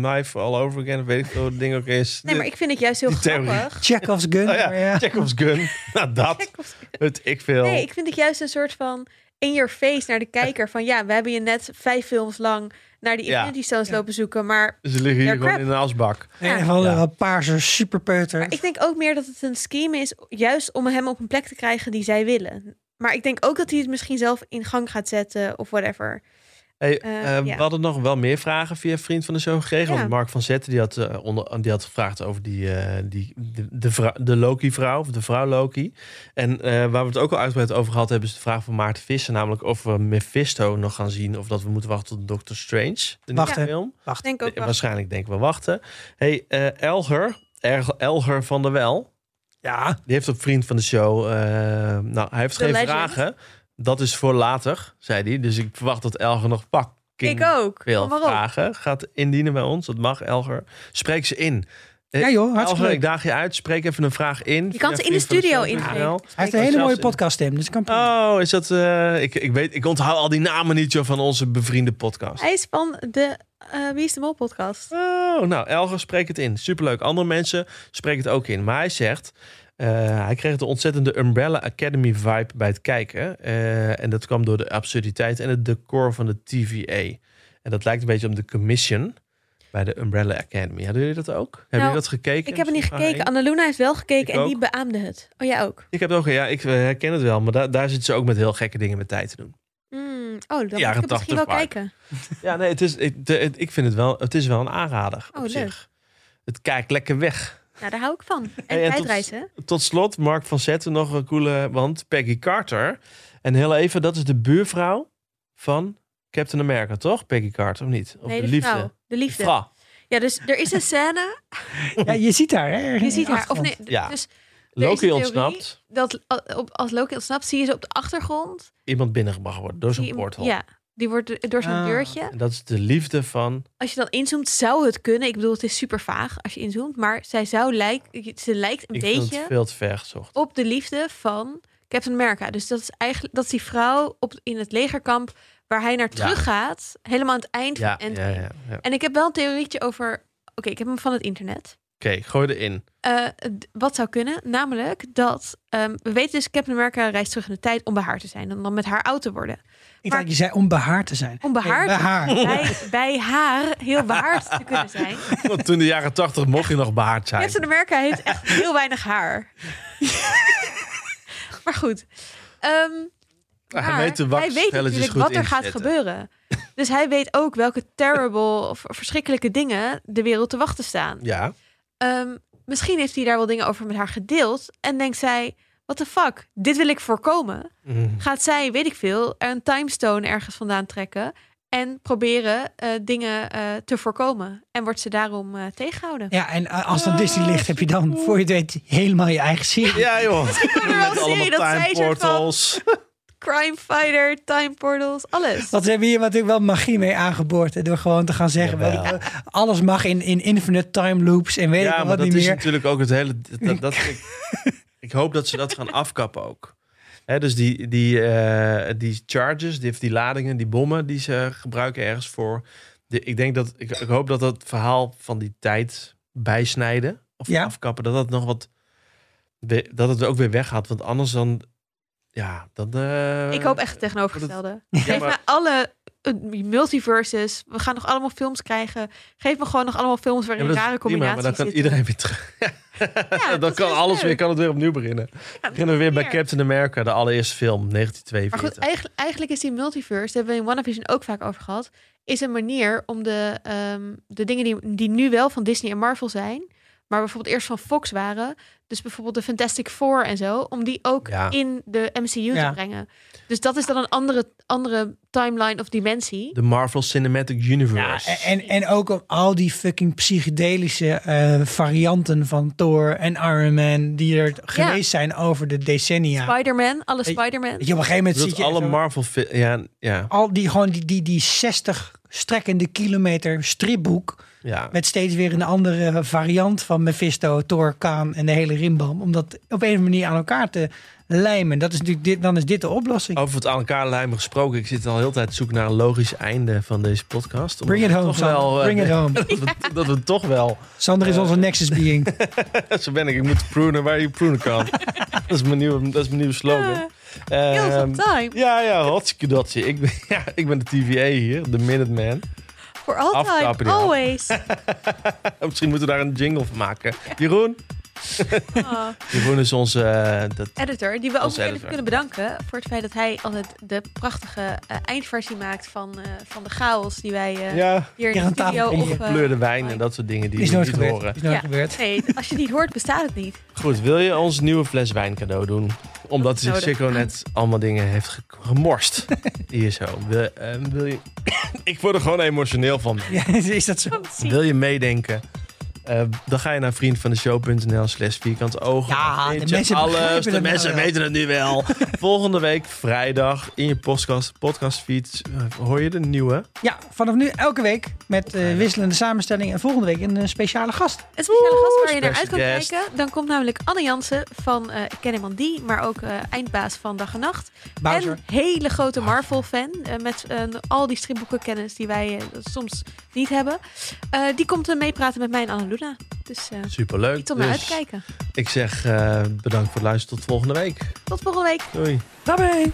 S1: eh, Knife All Over Again. of Weet ik veel wat het ding ook is.
S2: nee, maar ik vind het juist heel
S1: die theorie.
S2: grappig.
S3: Chekhov's gun.
S1: Oh ja,
S3: maar ja.
S1: Chekhov's gun. nou, dat. Het ik veel.
S2: Nee, ik vind het juist een soort van in your face naar de kijker van ja, we hebben je net vijf films lang naar die
S1: Ja.
S2: Infinity Stones lopen zoeken, maar
S1: Ze liggen hier
S2: Ja,
S1: gewoon
S2: crap.
S1: in een asbak.
S2: Ja.
S3: Ja. Van
S1: Ja.
S3: een paarse superpeuter.
S2: ik denk ook meer dat het een scheme is juist om hem op een plek te krijgen die zij willen. Maar ik denk ook dat hij het misschien zelf in gang gaat zetten of whatever.
S1: Hey,
S2: Eh,
S1: eh,
S2: ja.
S1: We hadden nog wel meer vragen via Vriend van de Show gekregen.
S2: Ja.
S1: Want Mark van Zetten die had, eh, onder, die had gevraagd over die, eh, die, de, de, vrou- de Loki-vrouw, of de vrouw Loki. En eh, waar we het ook al uitgebreid over gehad hebben, is de vraag van Maarten Visser. Namelijk of we Mephisto nog gaan zien of dat we moeten wachten tot Doctor Strange. De nieuwe
S3: Wachten.
S1: film.
S2: Ik denk ook
S1: Eh,
S2: wel.
S1: Waarschijnlijk denken we wachten. Hey, eh, Elger, Er- Elger van der Wel,
S3: Ja.
S1: die heeft op Vriend van de Show. eh, nou, hij heeft
S2: The
S1: geen
S2: Legend.
S1: vragen. Dat is voor later, zei hij. Dus ik verwacht dat Elger nog pak.
S2: Ik ook.
S1: Veel
S2: Kom maar op.
S1: vragen gaat indienen bij ons. Dat mag, Elger. Spreek ze in. Eh,
S3: Ja joh, hartstikke
S1: Elger,
S3: leuk.
S1: ik daag je uit. Spreek even een vraag in.
S2: Je kan
S1: via
S2: ze in de studio
S1: vriendvandeshow.nl.
S2: inspreken.
S3: Hij heeft een hele
S1: zelfs
S3: mooie
S1: in.
S3: podcaststem. Dus kan
S1: Oh, is dat... eh, ik, ik, weet, ik onthoud al die namen niet joh, van onze bevriende podcast.
S2: Hij is van de eh, Wie is de Mol podcast.
S1: Oh, nou, Elger, spreek het in. Superleuk. Andere mensen, spreek het ook in. Maar hij zegt... Eh, hij kreeg de ontzettende Umbrella Academy vibe bij het kijken. Eh, en dat kwam door de absurditeit en het decor van de TVA. En dat lijkt een beetje op de commission bij de Umbrella Academy. Hadden jullie dat ook? Hebben jullie dat gekeken?
S2: Nou, Ik heb er niet
S1: Misschien
S2: gekeken.
S1: aan één?
S2: Annaluna heeft wel gekeken
S1: Ik
S2: en
S1: ook.
S2: die beaamde het. Oh, jij ook?
S1: Ik heb het ook, ja, ik eh, herken het wel. Maar da- daar zitten ze ook met heel gekke dingen met tijd te doen.
S2: Mm, oh, dan
S1: Jaren
S2: moet ik het misschien
S1: 80
S2: wel
S1: vibe.
S2: kijken.
S1: Ja, nee, het is, ik, de- het- ik vind het wel, het is wel een aanrader
S2: Oh,
S1: op
S2: leuk.
S1: zich. Het kijkt lekker weg.
S2: Nou, daar hou ik van. En
S1: Hey, en tot-
S2: tijdreizen, hè?
S1: Tot slot, Mark van Zetten nog een coole, want Peggy Carter. En heel even, dat is de buurvrouw van Captain America, toch? Peggy Carter, of niet? Of
S2: Nee,
S1: de
S2: de,
S1: liefde.
S2: vrouw. De liefde.
S1: Vrouw.
S2: Ja, dus er is een scène.
S3: Ja, je ziet haar. Hè,
S2: Je ziet haar. Of nee,
S1: Ja.
S2: dus is een
S1: Loki
S2: theorie.
S1: ontsnapt.
S2: dat, eh, op- als Loki ontsnapt, zie je ze op de achtergrond.
S1: Iemand binnengebracht wordt door
S2: Die-
S1: zo'n portal.
S2: Ja, die wordt door zo'n
S3: Ah.
S2: deurtje.
S1: En dat is de liefde van...
S2: Als je dan inzoomt, zou het kunnen. Ik bedoel, het is super vaag als je inzoomt. Maar zij zou lijkt, ze lijkt een
S1: Ik vind het
S2: beetje
S1: veel te ver gezocht.
S2: op de liefde van Captain America. Dus dat is eigenlijk dat is die vrouw op, in het legerkamp waar hij naar
S1: Ja.
S2: terug gaat. Helemaal aan het eind
S1: Ja,
S2: van
S1: ja,
S2: Endgame.
S1: ja. ja. Oké,
S2: En ik heb wel een theorietje over... Oké, ik heb hem van het internet.
S1: gooi erin.
S2: Eh, d- wat zou kunnen, namelijk dat ehm, we weten dus Captain America reist terug in de tijd om bij haar te zijn en dan met haar oud te worden.
S3: Ik
S2: Maar-
S3: dacht, je zei om behaard te zijn.
S2: Om behaard,
S3: Nee, behaard.
S2: bij, bij haar heel behaard te kunnen zijn.
S1: Want toen in de jaren tachtig mocht je nog behaard zijn.
S2: Captain America heeft echt heel weinig haar. maar goed. Ehm,
S1: Ah, Hij
S2: maar
S1: weet de
S2: hij weet
S1: waxvelletjes
S2: natuurlijk
S1: goed
S2: wat er gaat
S1: inzetten.
S2: gebeuren. Dus hij weet ook welke terrible of verschrikkelijke dingen de wereld te wachten staan.
S1: Ja.
S2: Ehm, misschien heeft hij daar wel dingen over met haar gedeeld. En denkt zij, what the fuck, dit wil ik voorkomen.
S1: Mm.
S2: Gaat zij, weet ik veel, een timestone ergens vandaan trekken. En proberen eh, dingen eh, te voorkomen. En wordt ze daarom eh, tegengehouden.
S3: Ja, en eh, als dan Disney
S2: Oh.
S3: ligt, heb je dan, voor je het weet, helemaal je eigen serie.
S1: Ja, joh.
S2: we wel
S1: Met
S2: zien
S1: allemaal
S2: dat zij
S1: time
S2: een soort van-
S1: portals.
S2: Crime fighter, time portals, alles.
S3: Want ze hebben hier natuurlijk wel magie mee aangeboord. hè, Door gewoon te gaan zeggen,
S1: Jawel.
S3: wel, alles mag in, in infinite time loops en weet ik
S1: Ja,
S3: wel
S1: maar
S3: wat
S1: dat
S3: niet
S1: is
S3: meer.
S1: natuurlijk ook het hele... Dat, dat, ik, ik hoop dat ze dat gaan afkappen ook. Hè, dus die, die, eh, die charges, die, of die ladingen, die bommen die ze gebruiken ergens voor. De, ik, denk dat, ik, ik hoop dat dat verhaal van die tijd bijsnijden of
S3: Ja.
S1: afkappen, dat dat nog wat... we- Dat het ook weer weggaat, want anders dan... Ja, dan... eh,
S2: ik hoop echt het tegenovergestelde.
S1: Ja,
S2: Geef me
S1: maar,
S2: alle eh, multiverses. We gaan nog allemaal films krijgen. Geef me gewoon nog allemaal films
S1: ja,
S2: waarin
S1: maar dat is
S2: rare
S1: prima,
S2: combinaties
S1: maar dan kan
S2: zitten.
S1: iedereen weer terug.
S2: dat
S1: dan
S2: is eh,
S1: kan
S2: juist
S1: alles
S2: leuk.
S1: weer, kan het weer opnieuw beginnen.
S2: Ja,
S1: beginnen we weer bij
S2: meer.
S1: Captain America, de allereerste film,
S2: Maar
S1: 1942.
S2: goed, eigenlijk, eigenlijk is die multiverse, daar hebben we in WandaVision ook vaak over gehad, is een manier om de, ehm, de dingen die, die nu wel van Disney en Marvel zijn, maar bijvoorbeeld eerst van Fox waren, dus bijvoorbeeld de Fantastic Four en zo, om die ook
S1: Ja.
S2: in de MCU
S3: Ja.
S2: te brengen. Dus dat is dan een andere, andere timeline of dimensie.
S1: De Marvel Cinematic
S3: Ja,
S1: Universe.
S3: en, en ook om al die fucking psychedelische eh, varianten van Thor en Iron Man die er geweest zijn over de decennia.
S2: Spider-Man, alle
S3: Hey,
S2: Spider-Man.
S3: Weet je, op een gegeven moment
S1: dat
S3: zit je
S1: alle
S3: zo-
S1: Marvel fi- ja, ja,
S3: al die, gewoon die, die, die 60 strekkende kilometer stripboek
S1: ja.
S3: met steeds weer een andere variant van Mephisto, Thor, Kaan en de hele rimbam. Om dat op een of andere manier aan elkaar te lijmen. Dat is natuurlijk dit, dan is dit de oplossing.
S1: Over het aan elkaar lijmen gesproken. Ik zit al heel de tijd te zoeken naar een logisch einde van deze podcast. Omdat
S3: Bring it
S1: we
S3: home,
S1: toch
S3: Sander.
S1: wel, eh,
S3: Bring it home.
S1: dat, we, dat we toch wel.
S3: Sander is onze nexus being.
S1: Zo ben ik. Ik moet prunen waar je prunen kan. dat, is mijn nieuwe, dat is mijn nieuwe slogan.
S2: Ah, Heel veel
S1: Ehm,
S2: time.
S1: ja, ja, hartstikke dotje. Ik ben, ja, ik ben de TVA hier, de Minuteman.
S2: Voor altijd,
S1: afkappen, ja.
S2: always.
S1: Misschien moeten we daar een jingle van maken. Jeroen.
S2: Ah.
S1: Jeroen is onze... eh, dat,
S2: editor, die we ook
S1: Onze
S2: nog even
S1: editor.
S2: kunnen bedanken voor het feit dat hij altijd de prachtige eh, eindversie maakt van, eh, van de chaos die wij eh,
S1: ja,
S2: hier in
S3: Ja,
S2: de
S3: een
S2: studio
S3: tafeltje.
S2: of... eh,
S1: Kleurde wijn en dat soort dingen die
S3: Is
S1: je
S3: nooit
S1: niet
S3: gebeurd.
S1: horen.
S3: Is nooit
S2: Ja.
S3: gebeurd.
S2: nee, als je het niet hoort, bestaat het niet.
S1: Goed, wil je ons nieuwe fles wijn cadeau doen? Omdat
S2: Dat is nodig.
S1: Sikko net allemaal dingen heeft ge- gemorst. Hier zo. Wil, eh, wil je... Ik word er gewoon emotioneel van.
S3: Ja, is dat zo?
S1: Wil je meedenken? Eh, dan ga je naar vriendvandeshow.nl slash vierkant ogen.
S3: Ja,
S1: Dan
S3: de
S1: vind je
S3: mensen begrijpen
S1: alles.
S3: het
S1: De
S3: nou
S1: mensen
S3: wel.
S1: weten het nu wel. Volgende week vrijdag in je podcast, podcastfeed eh, hoor je de nieuwe.
S3: Ja, vanaf nu elke week met eh, wisselende samenstellingen. En volgende week een eh, speciale gast.
S2: Een speciale
S1: Oeh,
S2: gast waar je naar uit kan
S1: special guest.
S2: kijken. Dan komt namelijk Anne Jansen van eh Ik Ken Iemand Die, maar ook eh, eindbaas van Dag en Nacht.
S3: Bowser.
S2: En hele grote Marvel-fan eh, met eh, al die stripboeken kennis die wij eh, soms niet hebben. Eh, die komt eh, meepraten met mij en Anne Luna. Dus eh
S1: Superleuk.
S2: iets om naar uit
S1: Dus
S2: te kijken.
S1: Ik zeg eh, bedankt voor het luisteren. Tot volgende week.
S2: Tot volgende week.
S1: Doei.
S3: Daarbij.